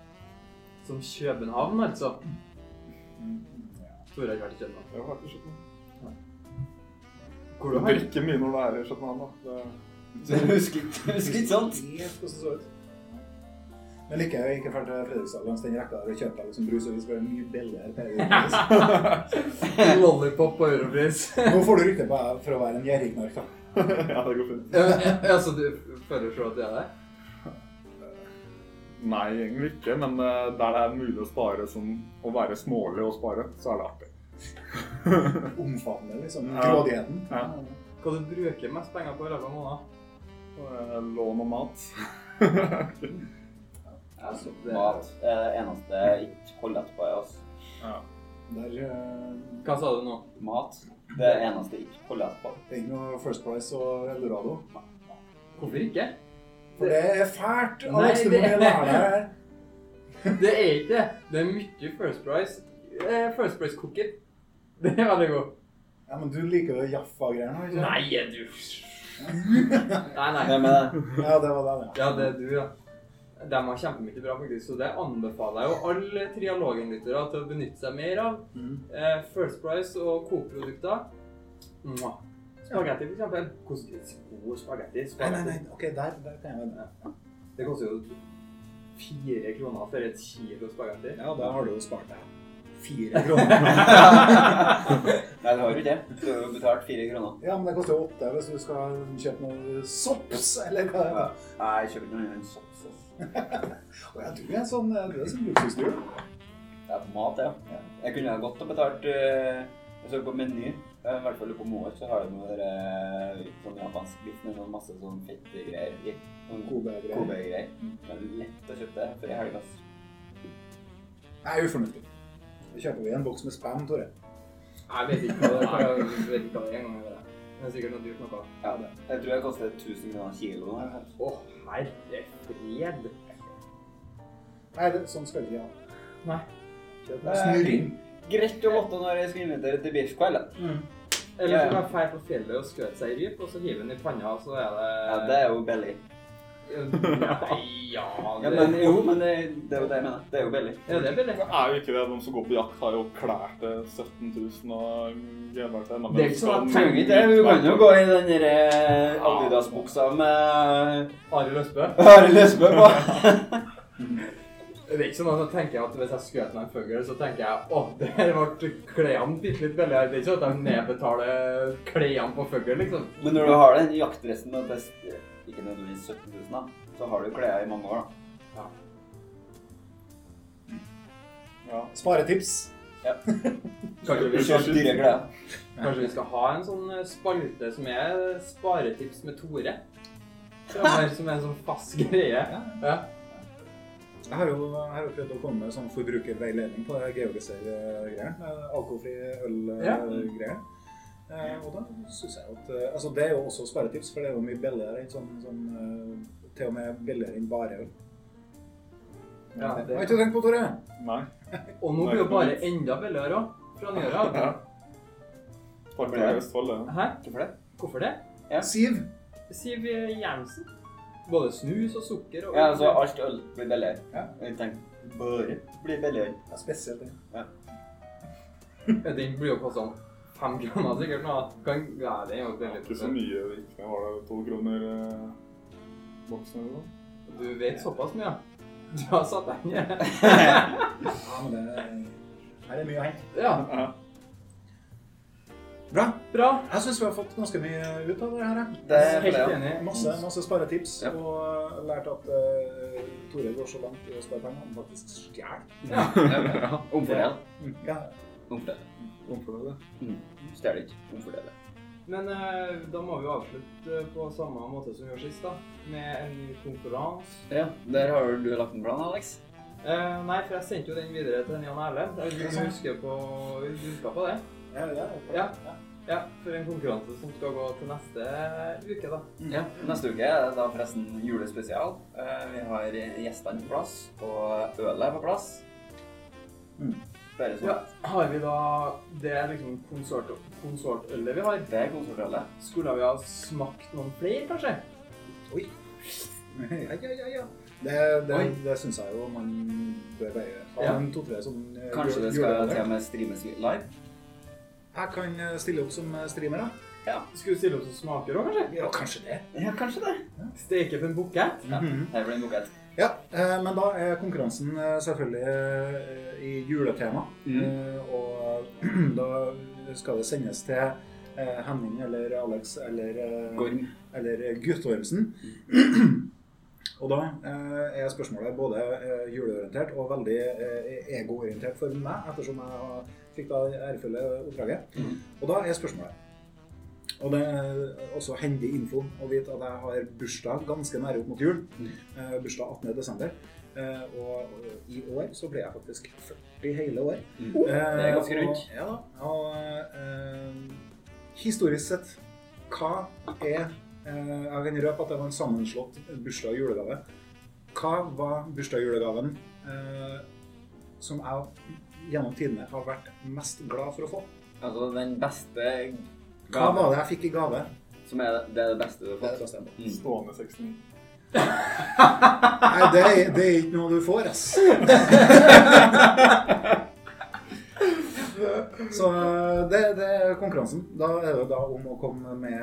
Speaker 2: Som København, altså.
Speaker 4: Ja.
Speaker 2: Tore har ikke vært i København.
Speaker 3: Det er jo faktisk skjønt.
Speaker 2: Hvor
Speaker 3: Du
Speaker 2: du har
Speaker 3: drikker mye når du er i København, da. Det,
Speaker 1: Så du husker ikke- husker ikke sant?
Speaker 4: Helt hvordan det så ut. Men liker jeg ikke ferdig til Fredrikstad langs den rekka der og kjøper liksom brus og hvis det blir mye billigere. per europris.
Speaker 2: lollipop og Europris.
Speaker 4: Nå får du rykte på deg for å være en gjerrigknark, da.
Speaker 3: ja, det går fint.
Speaker 2: Ja, men, eh, altså, du foreslår at jeg er der?
Speaker 3: Nei, egentlig ikke, men eh, der det er mulig å spare som å være smålig og spare, så er det artig.
Speaker 4: Omfavner liksom
Speaker 3: Ja.
Speaker 4: grådigheten.
Speaker 3: Ja.
Speaker 2: Hva du bruker mest penger på i løpet av måneden?
Speaker 3: Eh, Lån og mat.
Speaker 1: Altså, mat er det eneste jeg ikke holder etter på. jeg, Altså.
Speaker 3: ja.
Speaker 4: Der eh,
Speaker 2: Hva sa du nå?
Speaker 1: Mat det er det eneste jeg ikke holder etter på.
Speaker 4: det er ikke noe First Price og Eldorado.
Speaker 2: Hvorfor ikke?
Speaker 4: For det er fælt!
Speaker 2: Nei,
Speaker 4: Alex, du må
Speaker 2: det-
Speaker 4: lære deg det her.
Speaker 2: Det er ikke det. Det er mye First Price. Eh, First Price cookie. Det er veldig god.
Speaker 4: Ja, men du liker jo Jaffa-greiene, ikke sant?
Speaker 2: Nei, er du Nei, nei.
Speaker 1: Hvem er det?
Speaker 4: Ja, det var det,
Speaker 2: Ja, det er du, ja. De har kjempemye bra, faktisk, så det anbefaler jeg jo alle trialogenlyttere til å benytte seg mer av.
Speaker 4: Mm.
Speaker 2: Eh, First Price og Coop-produkter. Mwah. Spagetti, for eksempel. Hvordan- God spagetti.
Speaker 4: Nei, nei,
Speaker 2: spagetti.
Speaker 4: nei. Ok, der, der kan jeg vende.
Speaker 2: Det koster jo fire kroner for et kilo spagetti.
Speaker 4: Ja, da har du jo spart deg fire kroner.
Speaker 1: Nei, det har du ikke. Du har jo betalt fire kroner.
Speaker 4: Ja, men det koster jo åtte hvis du skal kjøpe noe sops, eller hva det er.
Speaker 1: Nei, jeg kjøper ikke noe annet enn sops. ass.
Speaker 4: Å ja, du er sånn, du er sånn luksusdyr.
Speaker 1: Det er på mat, ja. Jeg kunne ha godt ha betalt eh, Jeg så på Meny. eh, I hvert fall på Moer så har de noe der, eh, sånn japansk biff med sånn masse sånn fettgreier i. Sånn
Speaker 4: Kobe-greier.
Speaker 1: Kobe-greier. Det er lett å kjøpe det for i helga. ass.
Speaker 4: Nei, ufornuftig. Da kjøper vi en boks med spam, Tore.
Speaker 2: Jeg vet ikke hva det er. Jeg vet ikke hva det er engang. det. Det er sikkert noe dyrt noe.
Speaker 1: Ja, det. Jeg tror jeg koster 1000 kroner kiloen. eller noe sånt.
Speaker 2: Å, herre fred.
Speaker 4: Nei, det, sånn skal vi ikke ha.
Speaker 2: Nei.
Speaker 1: Nei.
Speaker 4: Kjøp en snurring.
Speaker 1: Greit å vite når jeg skal invitere til biffkveld. da.
Speaker 2: Eller så kan man feire på fjellet og skjøte seg i ryp, og så hive den i panna, og så er det
Speaker 1: Ja, det er jo billig.
Speaker 2: Nei, ja,
Speaker 1: Ja,
Speaker 2: det...
Speaker 1: men, jo, men det, det er jo det jeg mener. Det er jo billig.
Speaker 2: Ja, det er billig.
Speaker 3: Det er jo ikke det. De som går på jakt, har jo klær til 17 000 og gleder seg ennå.
Speaker 2: Det er ikke sånn at
Speaker 1: Trenger ikke det. Hun kan jo gå i den der eh, Adidas-buksa med
Speaker 2: Arild Østbø.
Speaker 1: Are Løsbø på.
Speaker 2: Det er ikke sånn at jeg tenker at hvis jeg skjøt meg en fugl, så tenker jeg åh, det her ble klærne bitte litt billigere. Det er ikke sånn at de nedbetaler klærne på fugl, liksom.
Speaker 1: Men når du har den jaktdressen med best Ikke nødvendigvis 17 000, da. Så har du klær i mange år, da.
Speaker 3: Ja.
Speaker 4: Sparetips.
Speaker 2: Kanskje vi,
Speaker 1: Kjøp dyre klær.
Speaker 2: kanskje vi skal ha en sånn spalte som er sparetips med Tore? Fremover, Som er en sånn fast greie. Ja.
Speaker 4: Jeg har jo, jeg har jo prøvd å komme med sånn forbrukerveiledning på georgiser-greier. Alkoholfri
Speaker 2: Ja.
Speaker 4: øl-greier. Og da synes jeg at eh, Altså, det er jo også sparetips, for det er jo mye billigere enn sånn, sånn eh, Til og med billigere enn bare øl.
Speaker 2: Ja,
Speaker 4: det
Speaker 2: det-
Speaker 4: har jeg ikke tenkt på, Tore.
Speaker 3: Nei.
Speaker 2: Og nå blir jo bare enda billigere òg, fra nyåret av.
Speaker 3: Ja. Takk for det, Østfold. det.
Speaker 2: Hæ?
Speaker 1: Hvorfor det?
Speaker 2: Hvorfor det?
Speaker 4: Siv.
Speaker 2: Siv Jernsen. Både snus og sukker og
Speaker 1: Ja, altså alt øl blir billigere.
Speaker 4: Ja.
Speaker 1: Jeg tenker bare blir billigere.
Speaker 4: Ja, spesielt det.
Speaker 2: Ja, Den blir jo sånn kosta fem kroner sikkert nå. da. Kan, ja, det er jo
Speaker 3: Det er
Speaker 2: veldig
Speaker 3: ikke så mye. Ikke var det to kroner eh, boksen eller noe.
Speaker 2: Du vet såpass mye, ja. Du har satt deg ned.
Speaker 4: Ja, men det her er mye å hente.
Speaker 2: Ja,
Speaker 3: Ja.
Speaker 4: Bra.
Speaker 2: bra.
Speaker 4: Jeg syns vi har fått ganske mye ut av det her. jeg.
Speaker 1: Det er
Speaker 2: Helt
Speaker 1: flere.
Speaker 2: enig.
Speaker 4: Masse, masse sparetips,
Speaker 1: Ja.
Speaker 4: og lært at eh, Tore går så langt i å spare penger at han faktisk stjeler.
Speaker 1: Ja. Omfordel.
Speaker 2: Mm.
Speaker 4: Ja.
Speaker 1: Omfordel.
Speaker 3: Omfordel, det.
Speaker 1: Stjeler ikke. Omfordele.
Speaker 2: Men eh, da må vi jo avslutte eh, på samme måte som vi gjorde sist, da. Med en konkurranse.
Speaker 1: Ja, der har jo du lagt en plan, Alex.
Speaker 2: Eh, nei, for jeg sendte jo den videre til Jan Erle. Jeg vet ikke om du husker på, du husker på det?
Speaker 4: Ja, ja,
Speaker 2: Ja. Ja, for en konkurranse som skal gå til neste uke, da.
Speaker 1: Ja, Neste uke er det da forresten julespesial. Eh, Vi har gjestene på plass, og ølet er på plass.
Speaker 4: Mm.
Speaker 1: Bare sånn.
Speaker 2: Ja, har vi da det er liksom konsort, konsortølet vi har?
Speaker 1: Det er konsertølet.
Speaker 2: Skulle vi ha smakt noen flere, kanskje?
Speaker 4: ja, ja, ja, ja. Det, det,
Speaker 1: Oi.
Speaker 4: det syns jeg jo man bør veie. Ha
Speaker 2: Ja.
Speaker 4: en to-tre som eh,
Speaker 1: Kanskje
Speaker 4: jule-
Speaker 1: det skal
Speaker 4: julekalender.
Speaker 1: til og med streames litt live?
Speaker 4: Jeg kan eh, stille opp som eh, streamer, da.
Speaker 2: Skulle vi stille oss og smake òg, kanskje?
Speaker 4: Ja, kanskje det. Mhm.
Speaker 1: Ja, kanskje det.
Speaker 2: Steke på en bukett?
Speaker 1: Ja. Her blir det bukett.
Speaker 4: Ja, eh, men da er konkurransen eh, selvfølgelig eh, i juletema.
Speaker 1: Mhm.
Speaker 4: Eh, Og da skal det sendes til eh, Henning eller Alex eller, eh,
Speaker 1: Gorm.
Speaker 4: eller Guttormsen. Og da eh, er spørsmålet både eh, juleorientert og veldig eh, egoorientert for meg, ettersom jeg har- fikk da det ærefulle oppdraget.
Speaker 1: Mhm.
Speaker 4: Og da er spørsmålet Og det er også hendig info å vite at jeg har bursdag ganske nære opp mot jul.
Speaker 1: Mhm.
Speaker 4: Eh, bursdag 18. desember. Eh, og og i år så ble jeg faktisk 40 hele år.
Speaker 1: Mm.
Speaker 4: Eh,
Speaker 1: Det er ganske rundt.
Speaker 4: Og, ja, og eh, historisk sett, hva er eh, Jeg kan røpe at det var en sammenslått bursdag og julegave. Hva var bursdagsjulegaven eh, som jeg gjennom tidene har vært mest glad for å få?
Speaker 1: Altså den beste
Speaker 4: Hva
Speaker 1: gaven
Speaker 4: var det jeg fikk i gave?
Speaker 1: som er det, er det beste du har
Speaker 4: Det,
Speaker 1: fått. Mm.
Speaker 3: Stående 69.
Speaker 4: Nei, det, er- det er ikke noe du får, ass. Så eh, det, det er konkurransen. Da er det da om å komme med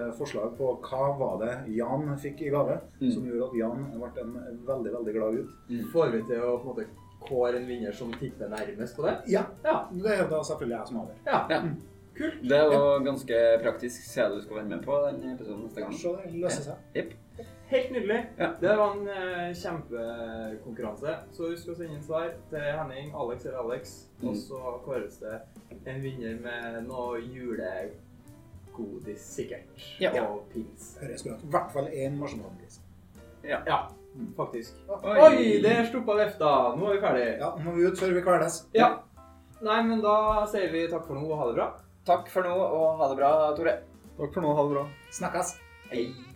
Speaker 4: eh, forslag på hva var det Jan fikk i gave,
Speaker 1: Mm.
Speaker 4: som gjorde at Jan ble en veldig, veldig glad gutt.
Speaker 2: Får vi til å på en måte kåre en vinner som tipper nærmest på det?
Speaker 4: Ja,
Speaker 2: Ja.
Speaker 4: det er da selvfølgelig jeg som avgjør.
Speaker 2: Ja.
Speaker 1: Ja.
Speaker 2: Kult.
Speaker 1: Det er jo ganske praktisk. Se du skal være med på den episoden neste gang.
Speaker 4: Kanskje det løser seg.
Speaker 1: Jepp.
Speaker 2: Helt nydelig.
Speaker 1: Ja.
Speaker 2: Det var en eh, kjempekonkurranse. Så husk å sende inn svar til Henning, Alex eller Alex.
Speaker 1: Mm.
Speaker 2: Og så kåres det en vinner med noe julegodis, sikkert.
Speaker 1: Ja.
Speaker 2: Og pins.
Speaker 4: Høres bra ut. I hvert fall én marsipangris.
Speaker 2: Ja, faktisk.
Speaker 1: Oi.
Speaker 2: Oi, der stoppa vifta. Nå er vi ferdig.
Speaker 4: Ja, nå må vi ut før vi kveles.
Speaker 2: ja. Nei, men da sier vi takk for nå og ha det bra.
Speaker 1: Takk for nå, og ha det bra, Tore.
Speaker 3: Takk for nå. Ha det bra.
Speaker 4: Snakkes.
Speaker 1: Hei.